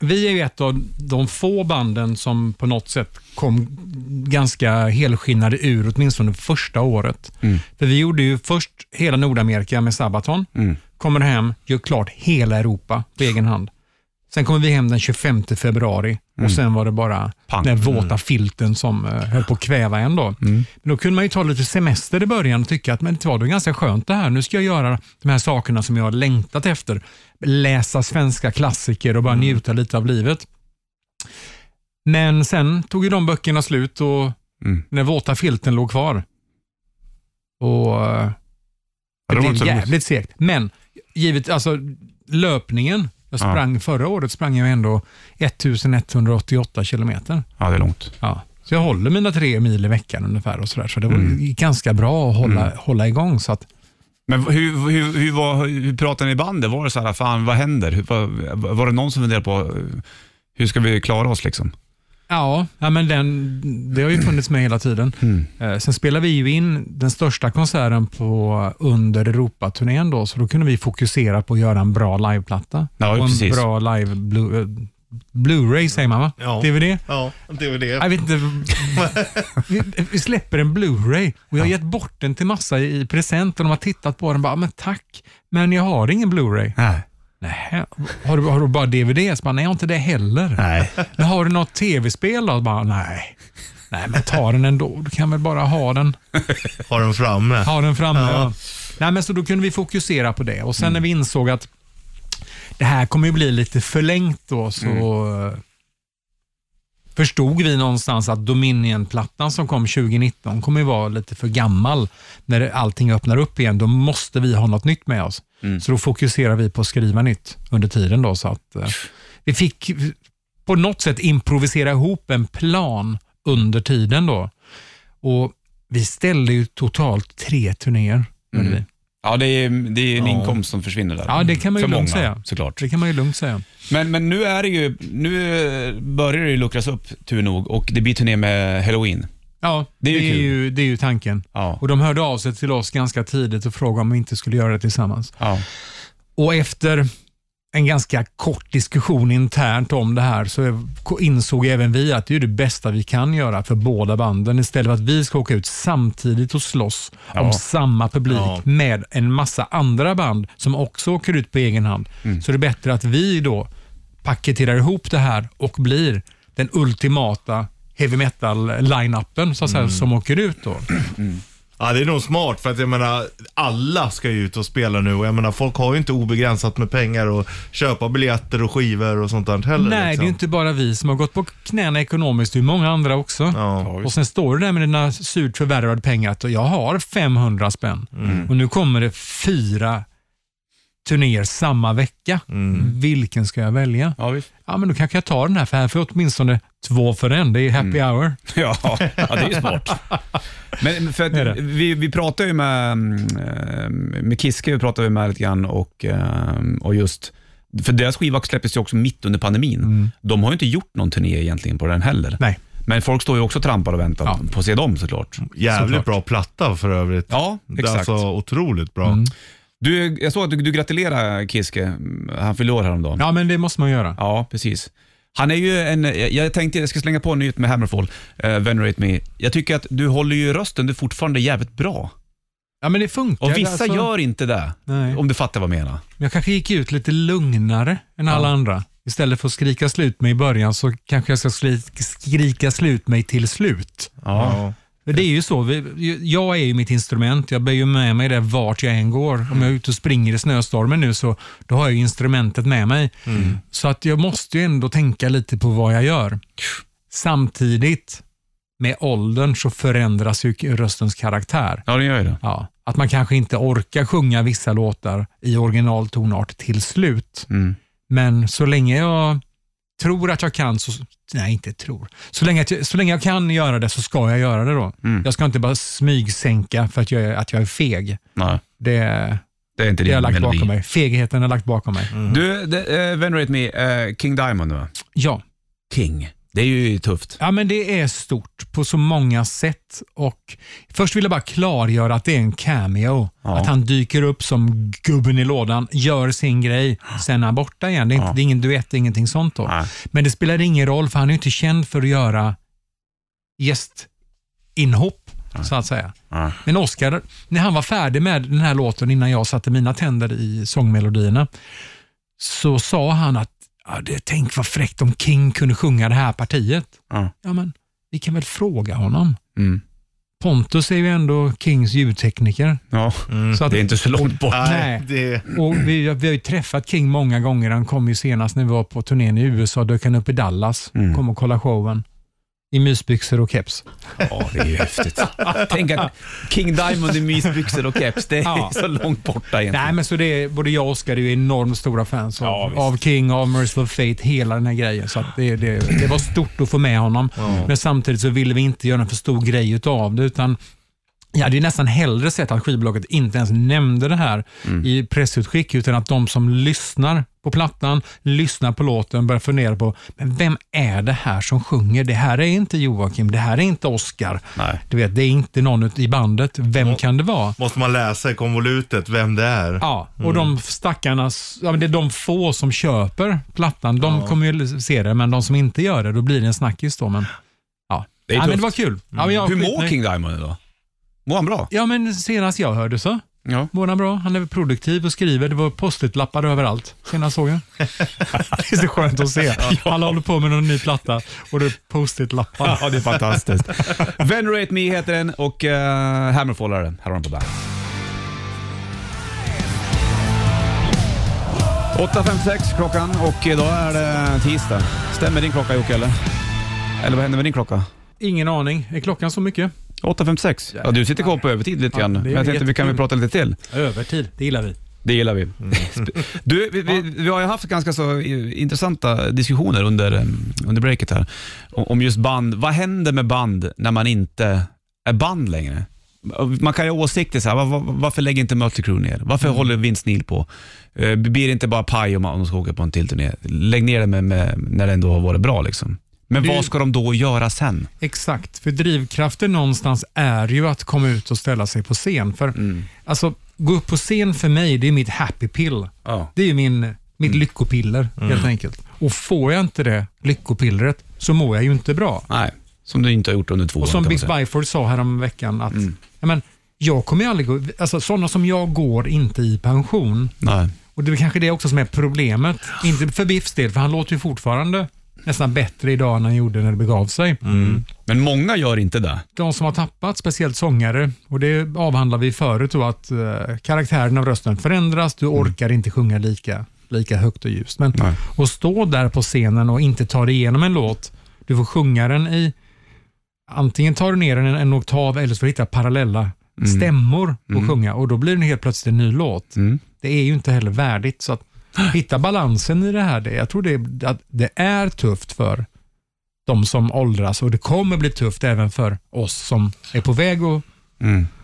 vi är ju ett av de få banden som på något sätt kom ganska helskinnade ur, åtminstone första året. För vi gjorde ju först hela Nordamerika med Sabaton, kommer hem, gör klart hela Europa på egen hand. Sen kommer vi hem den 25 februari och sen var det bara
Mm. Pang. Mm.
den våta filten som eh, höll på att kväva en. Då. Men då kunde man ju ta lite semester i början och tycka att men det var då ganska skönt det här. Nu ska jag göra de här sakerna som jag har längtat efter. Läsa svenska klassiker och bara
Mm.
njuta lite av livet. Men sen tog ju de böckerna slut och
Mm.
den våta filten låg kvar. Och eh,
Ja, det
det
var
blev
inte så roligt.
jävligt segt. Men givet, alltså löpningen. Jag
Ja.
sprang förra året sprang jag ändå 1188 kilometer.
Ja, det är långt.
Ja. Så jag håller mina tre mil i veckan ungefär och sådär. Så det var
Mm.
ganska bra att hålla, hålla igång. Så att,
Men hur, hur, hur, var, hur pratade ni i bandet? Var det så här, fan vad händer? Hur, var, var det någon som funderade på, eh, hur ska vi klara oss liksom?
Ja, ja men den, det har ju funnits med hela tiden.
Mm.
Eh, Sen spelade vi ju in den största konserten på, under Europaturnén då, så då kunde vi fokusera på att göra en bra liveplatta.
Ja,
och en
precis.
bra live blu, eh, Blu-ray säger man va?
Ja.
DVD?
Ja, det var det.
Jag vet inte. Vi, vi släpper en Blu-ray och jag har gett bort den till massa i present och de har tittat på den och bara, "Ah, men tack, men jag har ingen Blu-ray.
Nej.
Nej, har du, har du bara DVD? Så bara, nej, jag har inte det heller.
Nej.
Men har du något tv-spel då? Bara, nej. Nej, men ta den ändå. Du kan väl bara ha den,
Har den framme.
ha den framme.
Ja.
Ja. Nej, men så då kunde vi fokusera på det. Och sen när vi insåg att det här kommer ju bli lite förlängt då, så eh, förstod vi någonstans att Dominion-plattan som kom 2019 kommer ju vara lite för gammal. När allting öppnar upp igen, då måste vi ha något nytt med oss. Så då fokuserar vi på att skriva nytt under tiden. Då, så att, eh, vi fick på något sätt improvisera ihop en plan under tiden. då. Och Vi ställde ju totalt tre turnéer. gjorde
Mm.
Vi.
Ja, det är, det är en
Ja.
inkomst som försvinner där.
Ja, det kan man ju
För många,
lugnt säga.
såklart.
Det kan man ju lugnt säga.
Men, men nu är det ju, nu eh, börjar det ju luckras upp, tur nog, och det blir turné med Halloween.
Ja,
Det
det
är
är,
ju
ju,
kul.
det är ju tanken.
Ja.
Och De hörde av sig till oss ganska tidigt och frågade om vi inte skulle göra det tillsammans.
Ja.
Och efter en ganska kort diskussion internt om det här så insåg även vi att det är det bästa vi kan göra för båda banden istället för att vi ska åka ut samtidigt och slåss
Ja.
om samma publik
Ja.
med en massa andra band som också åker ut på egen hand. Så det är bättre att vi då paketerar ihop det här och blir den ultimata heavy metal-line-upen så att säga, som åker ut då.
Ja, det är nog smart för att jag menar, alla ska ju ut och spela nu och jag menar, folk har ju inte obegränsat med pengar och köpa biljetter och skivor och sånt där heller.
Nej, det
liksom.
är ju inte bara vi som har gått på knäna ekonomiskt, det är många andra också.
Ja.
Ja,
Och sen står du där med dina surt förvärvade pengar att jag har 500 spänn
Mm.
och nu kommer det fyra turnéer samma vecka.
Mm.
Vilken ska jag välja?
Ja, visst.
Ja, men då kanske jag tar den här för här får jag åtminstone två för en. Det är happy
Mm.
hour.
Ja, ja det är ju smart. Men men för
Det är
att
det.
vi, vi pratade ju med, eh, med Kiske, vi pratade med lite grann och, eh, och just, för deras skiva släpptes ju också mitt under pandemin. De har ju inte gjort någon turné egentligen på den heller.
Mm. Nej.
Men folk står ju också och trampar och väntar
Ja.
på att se dem såklart.
Jävligt bra platta för övrigt.
Ja, exakt.
Alltså otroligt bra.
Mm.
Du, jag såg att du, du gratulerade Kiske, han fyllde år häromdagen.
Ja, men det måste man göra.
Ja, precis. Han är ju en, jag tänkte jag ska slänga på en nyhet med Hammerfall, eh, Venerate Me. Jag tycker att du håller ju rösten, du är fortfarande jävligt bra.
Ja, men det funkar.
Och vissa
alltså.
gör inte det,
Nej.
om du fattar vad jag menar.
Men Jag kanske gick ut lite lugnare än alla andra. Istället för att skrika slut mig i början så kanske jag ska skri- skrika slut mig till slut.
Ja.
Men Det är ju så. vi- Jag är ju mitt instrument. Jag bär ju med mig det vart jag än går. Om jag är ute och springer i snöstormen nu så då har jag ju instrumentet med mig. Så att jag måste ju ändå tänka lite på vad jag gör. Samtidigt, med åldern så förändras ju röstens karaktär.
Ja, det gör ju det.
Ja, att man kanske inte orkar sjunga vissa låtar i original tonart till slut.
Mm.
Men så länge jag tror att jag kan, så, nej inte tror, så länge, att jag, så länge jag kan göra det så ska jag göra det då.
Mm.
Jag ska inte bara smygsänka för att jag, är- att jag är feg.
Nej,
Det, det
det är inte
har jag
din
lagt
melodi.
bakom mig. Fegheten har jag lagt bakom mig.
Du, det, eh, Venerate Me, eh, King Diamond va?
Ja.
King. Det är ju tufft.
ja, men det är stort på så många sätt. Och först vill jag bara klargöra att det är en cameo.
Ja.
Att han dyker upp som gubben i lådan, gör sin grej, sen är han borta igen. Det är, inte,
Ja.
det är ingen duett, det är ingenting sånt. Då.
Nej.
Men det spelar ingen roll för han är ju inte känd för att göra gästinhopp, så att säga.
Nej.
Men Oscar, när han var färdig med den här låten innan jag satte mina tänder i sångmelodierna, så sa han att ja, det, tänk vad fräckt om King kunde sjunga det här partiet.
Ja.
Ja, men vi kan väl fråga honom.
Mm.
Pontus är ju ändå Kings ljudtekniker.
Ja.
Så att,
Mm. Det är inte så långt bort.
Nej.
det,
och vi, vi har ju träffat King många gånger. Han kom ju senast när vi var på turnén i USA. Dök han upp i Dallas.
Mm.
Kom och kollade showen. I mysbyxor och keps.
Ja, det är ju häftigt. Tänk att King Diamond i mysbyxor och keps, det är
Ja.
så långt borta egentligen.
Nej, men så det är, både jag och Oskar är ju enormt stora fans av,
Ja, visst.
av King, av Merciful Fate, hela den här grejen. Så att det, det, det var stort att få med honom. Men samtidigt så ville vi inte göra en för stor grej utav det, utan jag hade ju nästan hellre sett att skivbolaget inte ens nämnde det här
Mm.
i pressutskick, utan att de som lyssnar på plattan, lyssnar på låten, börjar fundera på, men vem är det här som sjunger? Det här är inte Joakim, det här är inte Oskar.
Nej.
Du vet, det är inte någon ut- i bandet. Vem kan det vara?
måste man läsa i konvolutet vem det är.
Ja, och
Mm.
de stackarna, ja, men det är de få som köper plattan, de kommer ju se det, men de som inte gör det, då blir det en snackis då. Men, ja.
Det är tufft.
ja, men
Mm.
det var kul. Ja, men jag,
Hur mår
skitnöjd.
King Diamond idag? Mår han bra?
Ja, men senast jag hörde så
Ja.
mår han bra. Han är produktiv och skriver. Det var post-it-lappar överallt, senast såg jag. det är så skönt att se. Alla håller på med någon ny platta och det är post-it-lappar.
Ja, det är fantastiskt. Venerate Me heter den och uh, Hammerfall är den. Här har den på bandet. 8.56 klockan och idag är det tisdag. Stämmer din klocka Jocke eller? Eller vad händer med din klocka?
Ingen aning. Är klockan så mycket?
8.56? Ja, du sitter kvar på övertid lite
Ja,
grann.
det är
Men jag tänkte vi kan väl
jättekul.
prata lite till.
Övertid, det gillar vi.
Det gillar vi.
Mm.
Du, vi, vi, vi har ju haft ganska så eh, intressanta diskussioner under, eh, under breaket här. O- Om just band. Vad händer med band när man inte är band längre? Man kan ju ha åsikter så här, var, var, varför lägger inte Mötley Crüe ner? Varför
Mm.
håller Vince Neil på? Eh, Blir det inte bara paj om man- om de ska åka på en till turné? Lägg ner det med, med, när det ändå har varit bra liksom. Men
Det-
vad ska de då göra sen?
Exakt, för drivkraften någonstans är ju att komma ut och ställa sig på scen. För
Mm.
alltså, gå upp på scen för mig, det är mitt happy pill.
Ja. Mm.
Det är ju min, mitt lyckopiller helt enkelt. Och får jag inte det lyckopillret så mår jag ju inte bra.
Nej, som du inte har gjort under två år.
Och som
kan man
Big
säga. Mm.
Byford sa härom veckan att ja, men, jag kommer ju aldrig gå, alltså sådana som jag går inte i pension.
Nej.
Och det är kanske det också som är problemet. Inte för Biffs del, för han låter ju fortfarande nästan bättre idag än han gjorde när det begav sig.
Men många gör inte det.
de som har tappat, speciellt sångare, och det avhandlar vi förut då, att eh, karaktären av rösten förändras, du orkar inte sjunga lika, lika högt och ljust. Men
Nej.
att stå där på scenen och inte ta dig igenom en låt, du får sjunga den i, antingen tar du ner den en, en oktav eller så får du hitta parallella
Mm.
stämmor och sjunga och då blir den helt plötsligt en ny låt.
Mm.
Det är ju inte heller värdigt. Så att hitta balansen i det här, det, jag tror det, att det är tufft för de som åldras och det kommer bli tufft även för oss som är på väg att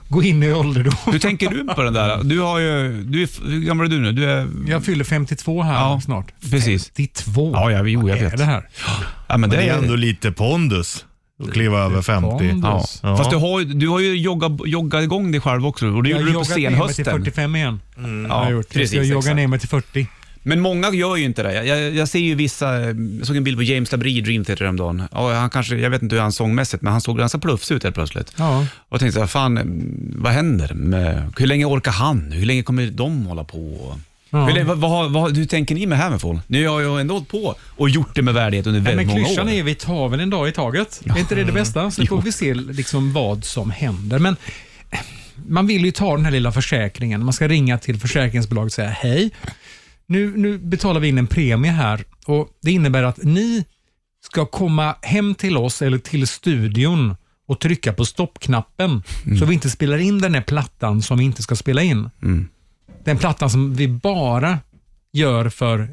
gå in i ålderdom.
Hur tänker Mm. du på den där? Du har ju, du är, hur gammal är du nu? Du är,
Jag fyller 52 här
Ja,
snart.
precis.
52?
Ja, ja, jo, jag
Vad är
vet.
det här?
ja, men
Men det är
ändå
ändå lite pondus att kliva över 50.
Ja.
Anders.
Fast du har, ju- du har ju joggat, joggat igång dig själv också och det gjorde
Jag har
du på
joggat ner mig till
senhösten.
45 igen.
Ja,
jag har gjort.
precis,
jag joggar
exakt.
ner mig till 40.
Men många gör ju inte det. Jag, jag, jag ser ju vissa, jag såg en bild på James Labrie i Dream Theater häromdagen. Ja, han kanske, jag vet inte hur han sångmässigt, men han såg ganska plufsig ut helt plötsligt.
Ja.
Och tänkte så här, fan, vad händer? Med, hur länge orkar han? Hur länge kommer de hålla på?
Ja.
Hur, länge- vad, vad, vad, hur tänker ni med Hammerfall? Nu har jag ju ändå hållit på och gjort det med värdighet under
Nej,
väldigt
men
många år.
klyschan är vi tar väl en dag i taget. Är inte det det bästa? Så får vi se liksom vad som händer. Men eh, man vill ju ta den här lilla försäkringen. Man ska ringa till försäkringsbolaget och säga hej. Nu, nu betalar vi in en premie här och det innebär att ni ska komma hem till oss eller till studion och trycka på stoppknappen
Mm.
så vi inte spelar in den här plattan som vi inte ska spela in. Den plattan som vi bara gör för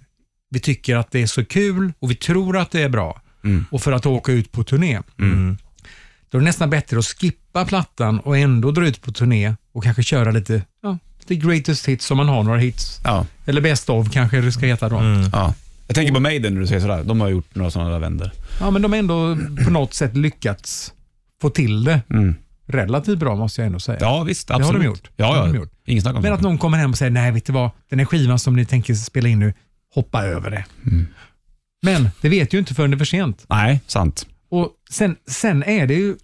vi tycker att det är så kul och vi tror att det är bra. Och för att åka ut på turné. Då är det nästan bättre att skippa plattan och ändå dra ut på turné och kanske köra lite, ja, lite greatest hits om man har några hits.
Ja.
Eller best of kanske det ska heta då.
ja. Jag tänker på Maiden när du säger sådär. De har gjort några sådana där vändor.
Ja, men de har ändå på något sätt lyckats få till det relativt bra måste jag ändå säga.
Ja, visst.
har
Absolut.
de gjort.
Ja,
Det har
ja.
de gjort.
Ingen snack om
Men att
saken.
någon kommer hem och säger, nej vet du vad, den här skivan som ni tänker spela in nu, hoppa över det.
Mm.
Men det vet ju inte förrän det är för sent.
Nej, sant.
Och sen, sen är det ju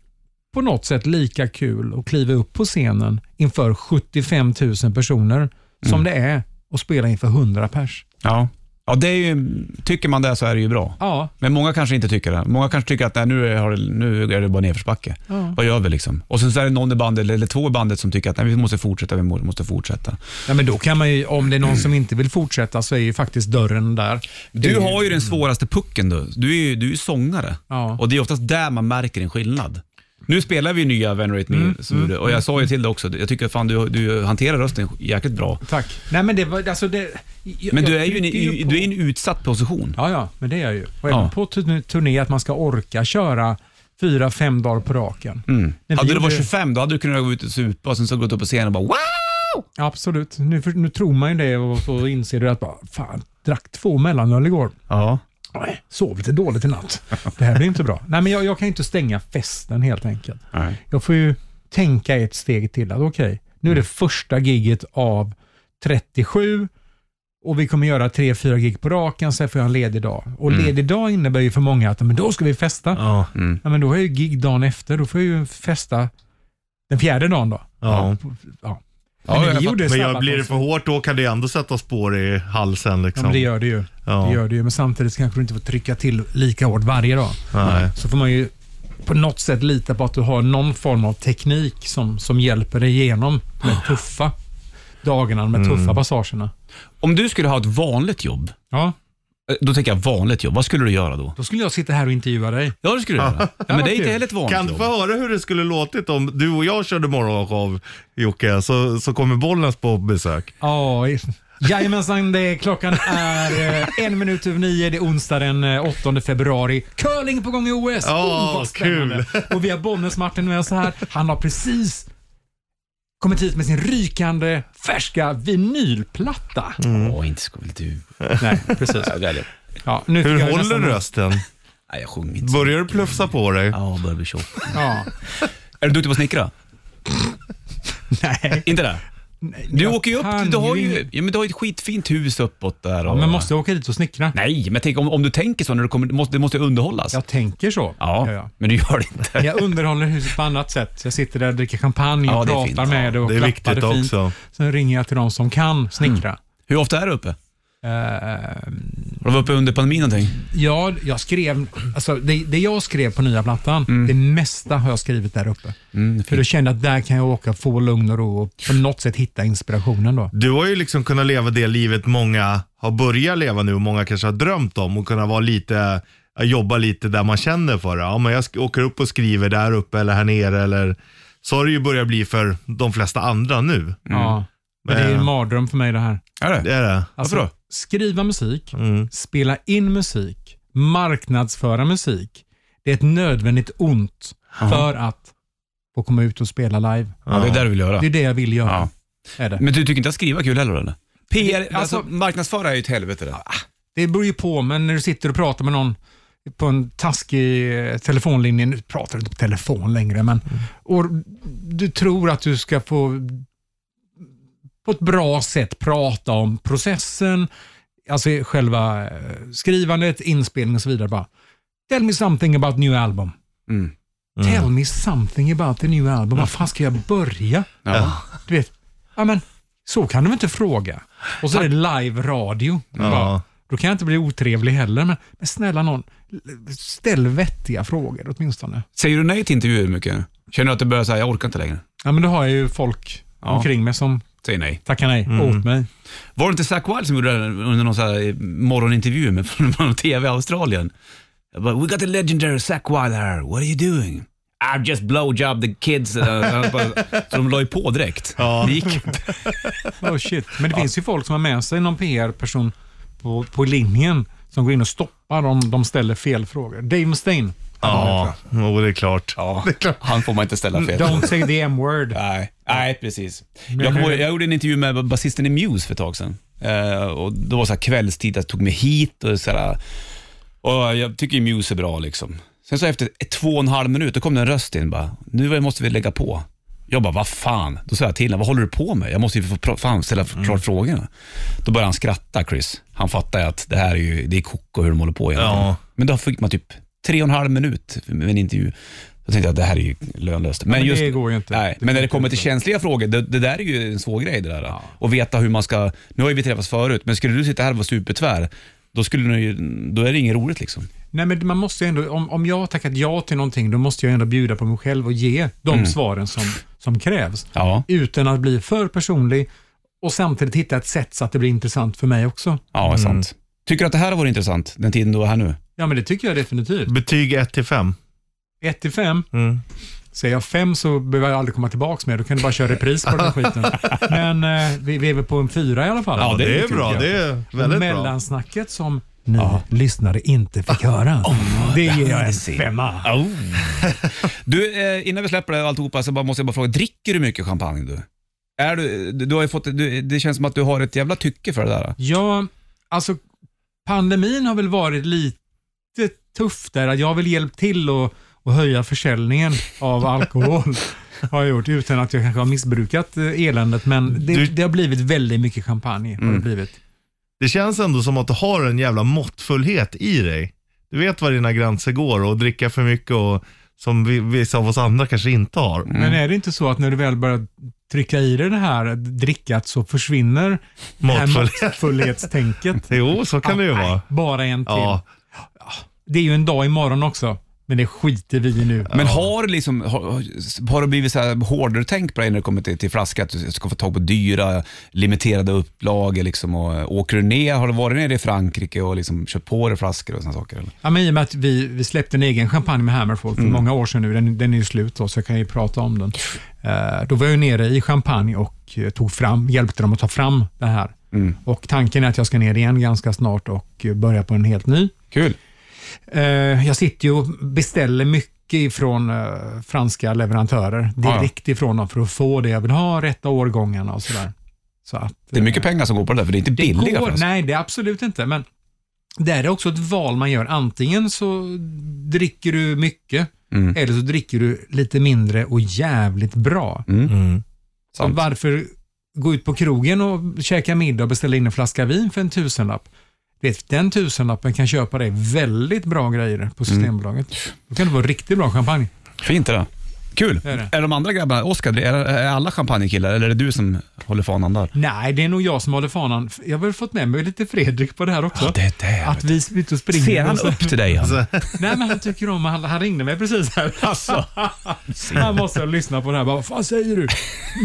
på något sätt lika kul att kliva upp på scenen inför 75 000 personer
Mm.
som det är att spela inför 100 pers.
Ja. Ja, det är ju, tycker man det så är det ju bra.
Ja,
Men många kanske inte tycker det. Många kanske tycker att nej, nu, har det, nu är det bara nedförsbacke. Vad gör vi liksom? Och sen så är det någon i bandet, eller- eller två i bandet som tycker att nej, vi måste fortsätta, vi må- måste fortsätta.
ja men då kan man ju, om det är någon som inte vill fortsätta så är ju faktiskt dörren där. Det är
Du
ju-
har ju den svåraste pucken du. Du är ju, du är ju sångare
Ja.
och det är oftast där man märker en skillnad. Nu spelar vi ju nya Venerate Me
Mm,
som du- och jag sa ju till dig också, jag tycker fan du, du hanterar rösten jäkligt bra.
Tack. Nej men det var, alltså det... jag-
Men du
jag
är ju
trycker
i-
på-
du är i en utsatt position.
Ja, ja, men det är jag ju. Och
Ja.
även på turn- turné, att man ska orka köra fyra, fem dagar på raken. När vi
Mm. Hade du
gjorde-
varit 25 då hade du kunnat gå ut och supa och sen så gått upp på scenen och bara wow!
Absolut. Nu, för, nu tror man ju det och så inser du att bara, fan, drack två mellanöl igår.
Ja.
Nej, Sov lite dåligt i natt. Det här blir inte bra. Nej, men jag, jag kan ju inte stänga festen helt enkelt.
Nej.
Jag får ju tänka ett steg till att okej, nu är
Mm.
det första giget av 37 och vi kommer göra tre fyra gig på raken, sen får jag en ledig dag. Och
Mm.
ledig dag innebär ju för många att men då ska vi festa.
Ja.
Ja, men då har jag ju gig dagen efter. Då får jag ju festa den fjärde dagen då.
Ja.
Ja.
Ja, jag fattar.
det
Men
snabba
jag blir det för
konst-
hårt då kan det ändå sätta spår i halsen
Ja,
liksom.
men det gör det ju.
Ja.
Det gör det ju. Men samtidigt kanske du inte får trycka till lika hårt varje dag.
Nej.
Så får man ju på något sätt lita på att du har någon form av teknik som, som hjälper dig igenom de tuffa dagarna, de här
Mm.
tuffa passagerna.
Om du skulle ha ett vanligt jobb,
Ja,
eh, då tänker jag vanligt jobb, vad skulle du göra då?
då skulle jag sitta här och intervjua dig.
Ja, det skulle du göra. Ja, men det är inte heller ett vanligt
Kan du
jobb.
få höra hur det skulle låtit om du och jag körde morgonshow Jocke, så, så kommer Bollnäs på besök.
Ja, i- Jajamensan, det är, klockan är eh, en minut över nio. Det är onsdag den eh, 8 februari. Curling på gång i OS!
Ja,
vad spännande. Och vi har Bollnäs-Martin med oss här. Han har precis kommit hit med sin rykande färska vinylplatta.
Mm.
Åh, inte skulle du.
Nej, precis.
Ja, det är det.
Ja, nu fick
Hur
jag ju
håller
nästan-
rösten?
Nej, jag sjunger inte. så.
Börjar du plufsa på dig?
Ja, jag börjar bli tjock.
Ja.
Är du duktig på att snickra?
Nej.
Inte det? Du
jag
åker ju upp,
kan
du har
ju
ju,
inte.
ja, men du har ju ett skitfint hus uppåt där. Och...
Men måste jag åka dit och snickra?
Nej, men tänk om, om du tänker så när du kommer, det måste, det måste ju underhållas.
Jag tänker så.
Ja,
Ja, ja.
men du gör det inte.
Jag underhåller huset på annat sätt. Jag sitter där och dricker champagne och
Ja, det är
pratar
fint.
med det och
Det är
klappar
viktigt
det fint.
också.
Sen ringer jag till de som kan snickra.
Hur ofta är du uppe?
Mm.
Eh,
Har du varit uppe under pandemin någonting?
ja, jag skrev, alltså det, det jag skrev på nya plattan,
Mm.
det mesta har jag skrivit där uppe. För då kände jag att där kan jag åka, få lugn och ro och på något sätt hitta inspirationen
Mm.
då.
Du har ju liksom kunnat leva det livet många har börjat leva nu och många kanske har drömt om och kunna vara lite, jobba lite där man känner för det. Ja, men jag sk- åker upp och skriver där uppe eller här nere eller så har det ju börjat bli för de flesta andra nu.
Ja. Men det är ju en
Eh.
mardröm för mig det här.
Är
Det är det.
Alltså,
Varför då?
Skriva musik,
Mm.
spela in musik, marknadsföra musik. Det är ett nödvändigt ont för att få komma ut och spela live.
Ja, det är det du vill göra.
Det är det jag vill göra.
Ja.
Är det.
Men du tycker inte att skriva är kul heller eller? PR,
Det-
alltså,
alltså-
marknadsföra är ju ett helvete det.
det beror ju på, men när du sitter och pratar med någon på en taskig eh, telefonlinje, nu pratar du inte på telefon längre, men och du tror att du ska få på ett bra sätt prata om processen, alltså själva eh, skrivandet, inspelning och så vidare. Bara, Tell me something about new album.
Mm.
Tell me something about the new album. Var fan ska jag börja?
Ja.
Du vet, ja men så kan du väl inte fråga? Och så är det live radio. Bara, Då kan jag inte bli otrevlig heller, men, men snälla någon, l- ställ vettiga frågor åtminstone.
Säger du nej till intervjuer mycket nu? Känner du att du börjar säga jag orkar inte längre?
Ja, men då har jag ju folk
Ja. Mm.
omkring mig som
Säger nej.
tackar nej åt mig.
Var det inte Zach Wilde som gjorde det här under någon så här eh, morgonintervju med från någon TV i Australien? Jag bara, We got the legendary Zach Wilde här. What are you doing? I just blowjob the kids. Uh, så de la ju på direkt. Det gick inte.
Oh shit. Men det finns ju folk som har med sig någon PR-person på, på linjen som går in och stoppar om de ställer fel frågor. Dave Mustaine.
Ja, jo, det är klart.
Han får man inte ställa fel.
Don't say the M-word.
Nej, nej precis. Jag, kommer ihåg- jag gjorde en intervju med basisten i Muse för ett tag sedan. Eh, och det var så här kvällstid, jag tog mig hit och så här, och Jag tycker ju Muse är bra liksom. Sen så efter ett- två och en halv minut, då kom det en röst in bara, nu måste vi lägga på. Jag bara, vad fan? Då sa jag till honom, vad håller du på med? Jag måste ju få pra- fan ställa f- klart frågorna. Då började han skratta, Chris. Han fattar ju att det här är ju, det är koko hur de håller på egentligen.
Ja.
Men då fick man typ tre och en halv minut med en intervju. Då tänkte jag att det här är ju lönlöst. Men,
men
just,
det går ju inte.
Nej,
Det
men när
går
det
inte
kommer till
så.
känsliga frågor, det, det där är ju en svår grej det där. Och veta hur man ska, nu har ju vi träffats förut, men skulle du sitta här och vara supertvär, då, skulle du, ju- då är det inget roligt liksom.
Nej, men man måste ju ändå, om, om jag har tackat ja till någonting, då måste jag ändå bjuda på mig själv och ge de svaren som, som krävs.
Ja.
Utan att bli för personlig och samtidigt hitta ett sätt så att det blir intressant för mig också.
Ja, mm. sant. Tycker du att det här har varit intressant, den tiden du var här nu?
Ja, men det tycker jag definitivt.
Betyg 1 till 5.
1 till 5.
Mm.
Säger jag 5 så behöver jag aldrig komma tillbaka mer. Då kan du bara köra repris på den här skiten. Men eh, vi, vi är väl på en 4 i alla fall.
Ja,
Ja,
det
det,
är
är bra.
betyg,
Det är väldigt bra.
Mellansnacket som ni lyssnare inte fick
Ah.
höra.
Oh,
det ger jag en
ser.
femma.
Oh. du, eh, innan vi släpper det och alltihopa så bara, måste jag bara fråga, dricker du mycket champagne du? Är du, du har ju fått, du, det känns som att du har ett jävla tycke för det där.
Ja, alltså pandemin har väl varit lite tuff där. Att Jag har väl hjälpt till att att höja försäljningen av alkohol. har jag gjort utan att jag kanske har missbrukat eh, eländet. Men det,
Du- Mm.
det har blivit väldigt mycket champagne. Har det blivit.
Det känns ändå som att du har en jävla måttfullhet i dig. Du vet var dina gränser går och dricka för mycket och som vi, vissa av oss andra kanske inte har.
Men är det inte så att när du väl börjar trycka i dig det här drickat så försvinner det här
Måttfullhet.
måttfullhetstänket?
Jo, så kan det
Ah,
ju vara.
Bara en till.
Ja.
Det är ju en dag imorgon också, men det skiter vi i nu.
Men har det liksom, har, har det blivit så här hårdare tänk på dig när det kommer till, till flaska, att du ska få tag på dyra, limiterade upplagor liksom och åker du ner, har du varit nere i Frankrike och liksom köpt på dig flaskor och sådana saker? Eller?
Ja, men I och med att vi, vi släppte en egen champagne med Hammerfall för många år sedan nu, den, den är ju slut då, så jag kan ju prata om den. Eh, då var jag ju nere i Champagne och eh, tog fram, hjälpte dem att ta fram det här. Och Tanken är att jag ska ner igen ganska snart och eh, börja på en helt ny.
Kul.
Eh, jag sitter ju och beställer mycket ifrån eh, franska leverantörer,
ja.
direkt ifrån dem för att få det jag vill ha, rätta årgångarna och sådär. Så att, eh,
Det är mycket pengar som går på det där, för det är inte billiga
går,
flaskor.
Nej, det är absolut inte. Men det är också ett val man gör. Antingen så dricker du mycket
Mm.
eller så dricker du lite mindre och jävligt bra. Så
Sant.
varför gå ut på krogen och käka middag och beställa in en flaska vin för en tusenlapp? Du Vet, den tusenlappen kan köpa dig väldigt bra grejer
Mm.
på Systembolaget. Då kan det vara riktigt bra champagne.
Fint det där. Kul.
är det.
Är de andra grabbarna, Oskar, är, är alla champagnekillar eller är det du som håller fanan där?
Nej, det är nog jag som håller fanan. Jag har väl fått med mig lite Fredrik på det här också.
det är det.
Att vi Ah, är ute och springer.
Ser han
och så-
upp till dig? Han?
Nej, men han tycker om han, han ringde mig precis här.
Alltså.
Han måste lyssna på det här. Bara, Vad fan säger du?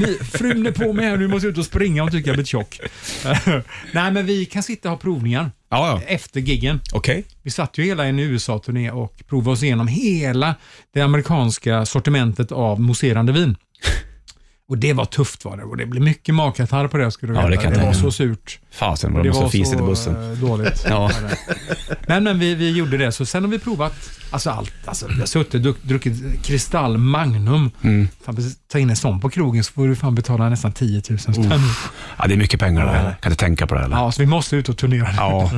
Ni, frun är på mig här nu, måste jag ut och springa. Hon tycker jag blir tjock. Nej, men vi kan sitta och ha provningar
Ja, ja.
efter giggen.
Okej.
Vi satt ju hela en USA-turné och provade oss igenom hela det amerikanska sortimentet av mousserande vin. Och det var tufft var det. Och det blev mycket magkatarr på det skulle du
Ja,
veta.
det kan jag
det var
tänka
så
mig.
surt.
Fasen vad de
det
måste
var
ha fisit i bussen.
eh, dåligt.
Ja.
Men, men vi, vi gjorde det, så sen har vi provat alltså allt. Alltså, vi har suttit och druck- druckit Kristall Magnum.
Mm.
Fan, precis, ta in en sån på krogen så får du fan betala nästan 10 000 spänn.
Oh. ja, det är mycket pengar det här. Kan du tänka på det eller?
Ja, så vi måste ut och turnera.
Ja,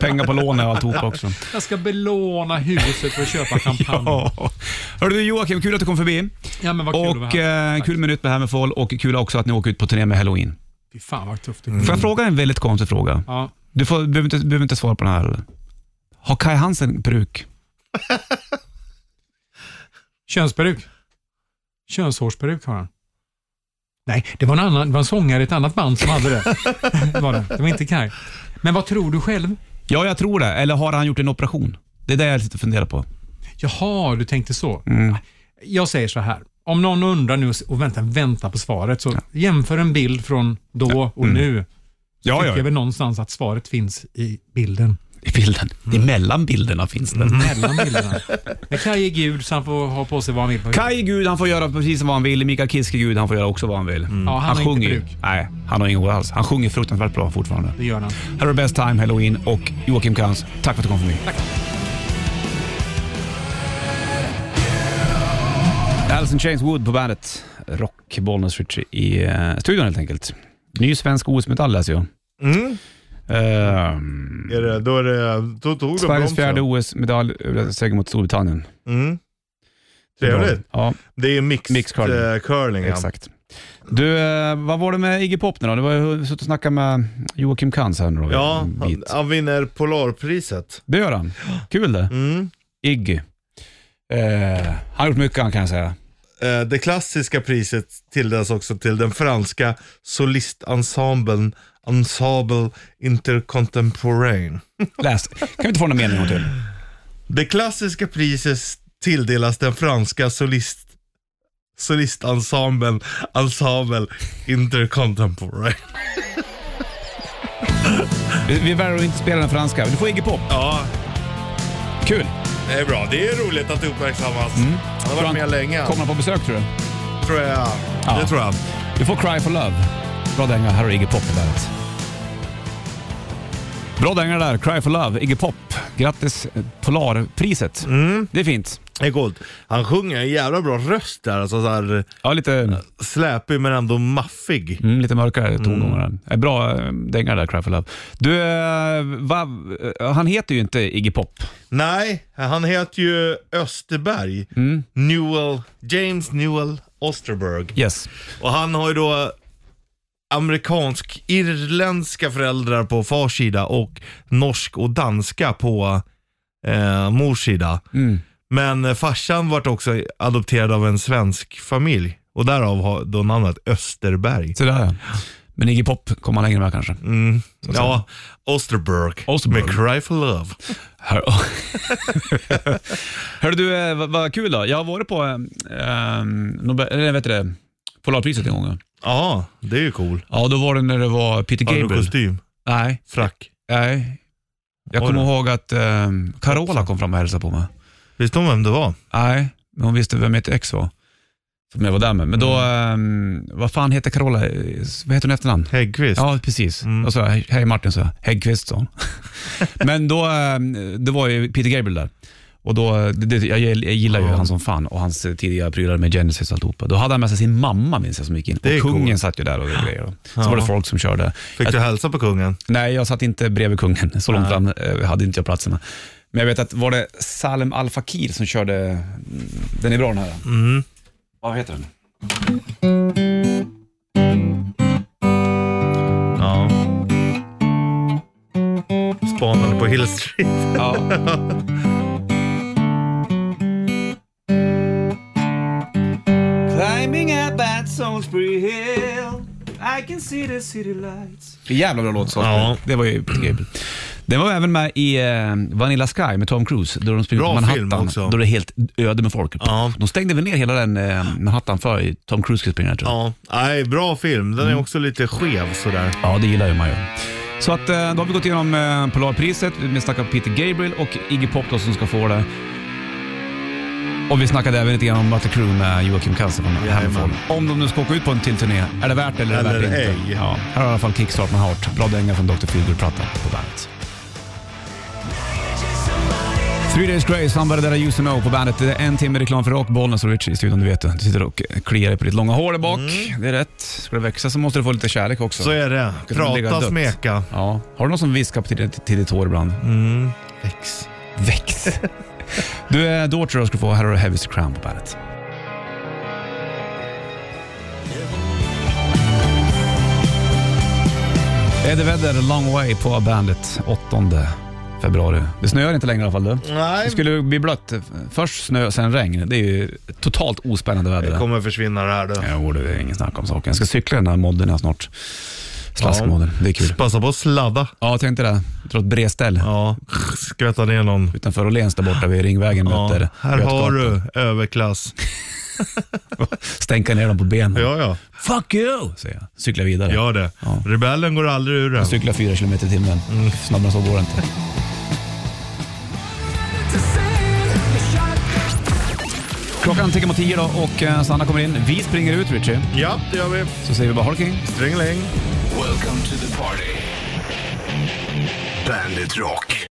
pengar på lån och alltihopa också.
Jag ska belåna huset för att köpa champagne. ja.
Ja. Hörru du Joakim, kul att du kom förbi.
men vad kul att vara
Och
här.
eh, kul minut med Hammerfall och kul också att ni åker ut på turné med Halloween.
Fy fan vad tufft det mm.
Får jag fråga en väldigt konstig fråga?
Ja.
Du får, behöver, inte, behöver inte svara på den här. eller? Har Kai Hansen peruk?
Könsperuk. Könshårsperuk har han. Nej, det var en annan, det var en sångare i ett annat band som hade det. det, var det. det var inte Kaj. Men vad tror du själv?
Ja, jag tror det. Eller har han gjort en operation? Det är det jag sitter och funderar på.
Jaha, du tänkte så.
Mm.
Jag säger så här. Om någon undrar nu och väntar, väntar på svaret, så jämför en bild från då och nu.
Ja, Mm.
Tycker jag
ja. Mm.
väl någonstans att svaret finns i bilden.
i bilden.
Mm.
Emellan bilderna finns den.
Mellan bilderna. Men Kaj är gud så han får ha på sig vad han vill. På
Kaj är Gud, han får göra precis vad han vill. Mikael Kiske är Gud, han får göra också vad han vill.
Ja, Mm. han har inte
sjunger ju-
bruk.
Nej, han har inga år alls. Han sjunger fruktansvärt bra fortfarande.
Det gör han.
Här har du Best Time, Halloween och Joakim Krantz. Tack för att du kom förbi. Tack. Alice in Chains Wood på bandet. Rock, Bollnäs Ritchie i eh, studion helt enkelt. Ny svensk OS-metall läser jag.
Mm.
Ehm,
Är det, då, är det, då tog de
Sveriges
bromsen.
fjärde OS-medalj, eh, seger mot Storbritannien.
Mm. Trevligt.
Ja,
Det är ju mixed
Mixed curling.
eh, curling ja.
exakt. Du, eh, vad var det med Iggy Pop nu då? Du var ju suttit och snackat med Joakim Kantz här nu då.
Ja,
en
han,
bit.
han vinner Polarpriset.
Det gör han. Kul det.
Mm.
Iggy. Eh, han har gjort mycket han kan jag säga.
Eh, Det klassiska priset tilldelas också till den franska solistensemblen Ensemble Intercontemporain.
Läs. Kan vi inte få någon mening till?
Det klassiska priset tilldelas den franska solist solistensemblen Ensemble Intercontemporain.
Vi, vi väljer att inte spela den franska. Du får Iggy Pop.
Ja,
Kul.
det är bra. Det är roligt att det uppmärksammas. Han har
Tror
varit
han-
med länge.
Kommer han på besök tror du?
Mm. Tror jag.
Ja.
Det tror jag.
Du får Cry for Love. Bra dänga. Här har Iggy Pop på bandet. Bra dänga där. Cry for Love, Iggy Pop. Grattis eh, Polarpriset.
Mm.
Det är fint.
Det är coolt. Han sjunger en jävla bra röst där. Alltså så här
Ja, lite,
släpig men ändå maffig.
mm, lite mörkare tongångar. Eh, Bra eh, dänga där, Cry for Love. Du, eh, va, eh, han heter ju inte Iggy Pop.
Nej, han heter ju Österberg.
Mm.
Newell, James Newell Osterberg.
Yes.
Och han har ju då amerikansk-irländska föräldrar på fars sida och norsk och danska på eh, mors sida.
Mm.
Men eh, farsan vart också adopterad av en svensk familj och därav har då namnet Österberg.
Sådär ja. Men Iggy Pop kommer han längre med kanske.
Mm. Ja, Osterberg.
Alltså. Osterberg.
Med Cry for Love.
Hör, Hörru du, eh, vad vad kul då. Jag har varit på eh, Nobel, eller vet du det, Polarpriset en gång. ja.
Ja, det är ju cool.
Ja, då var det när det var Peter
Har du
Gabriel.
kostym?
Nej,
Frack?
nej. Jag
Har
kommer
du?
ihåg att eh, Carola kom fram och hälsade på mig.
Visste hon vem det var?
Nej, men hon visste vem mitt ex var. Som jag var där med. Men då, eh, vad fan heter Carola? eh, Vad heter hon i efternamn?
Häggkvist?
Ja, precis.
Mm.
Och så, hej Martin, så Häggkvist sa hon. Men då, eh, det var ju Peter Gabriel där. Och då, det, det- jag, jag gillar ju
Ja.
han som fan och hans tidiga prylar med Genesis och alltihopa. Då hade han med sig sin mamma minns jag som gick in.
Det är
Och kungen
coolt.
satt ju där och grejer. då. Så
Ja.
var det folk som körde.
Fick du hälsa på kungen?
Nej, jag satt inte bredvid kungen. Så långt fram eh, hade inte jag platserna. Men jag vet att var det Salem Al Fakir som körde, mm, den är bra den här.
Mm.
Vad heter den?
Ja. Spanade på Hill Street.
Ja. Climbing up at Salisbury Hill I can see the city lights Jävla bra låt Salisbury.
Ja.
Det var ju Peter Gabriel. Den var även med i eh, Vanilla Sky med Tom Cruise. Då de springer
Bra
på Manhattan.
film också.
Då det är helt öde med folk.
Ja.
De stängde väl ner hela den eh, Manhattan för Tom Cruise skulle springa där, tror jag.
Ja, nej, bra film. Den är också lite skev sådär.
Ja, det gillar ju man ju. Så att, eh, då har vi gått igenom eh, Polarpriset, vi snackar Peter Gabriel och Iggy Pop då, som ska få det. Och vi snackade även lite grann om Mötley Crüe med Joakim Kallsen från Hammerfall. Om de nu ska åka ut på en till turné, är det värt det eller, är
Eller
det värt det inte?
ej.
Ja, här har i alla fall Kickstart med Heart. Bra dänga från Dr. Feelgood-plattan på bandet. Three Days Grace, Somebody That I Used To Know på bandet. Det är en timme reklam för rock, Bollnäs och Richie i studion, du vet det. Du sitter och kliar dig på ditt långa hår där bak. Det är rätt. Ska det växa så måste du få lite kärlek också.
Mm. Så är det.
Kan man lägga
Prata,
dött?
smeka.
Ja. Har du någon som viskar till, ditt- till ditt hår ibland?
Mm. Väx.
Väx! du, eh, är Daughter ska du få. Här har du Heavy's Crown på bandet. Eddie Vedder, Long Way på bandet 8 februari. Det snöar inte längre i alla fall du. Det
Nej,
skulle bli blött. Först snö, sen regn. Det är ju totalt ospännande väder.
det
det.
kommer försvinna det här du.
Jo, det är ingen snack om saken. Jag ska cykla den här modden här snart. Slaskmodden. Det är kul.
Passa på att sladda.
Ja, jag tänkte det. Dra ett bredställ.
Ja, skvätta ner någon.
utanför Åhléns där borta vid Ringvägen.
Ja,
Ja,
här har du överklass.
Stänka ner dem på benen.
Ja, ja.
Fuck you! Säger jag. Cyklar vidare.
Gör det.
Ja.
Rebellen går aldrig ur den. Mm.
Cyklar fyra kilometer i timmen. Snabbare än så går det inte. Klockan tickar mot tio då och eh, Sanna kommer in. Vi springer ut Richie,
Ja, det gör vi.
så säger vi bara Holking.
Stringeling.
Welcome to the party. Bandit Rock.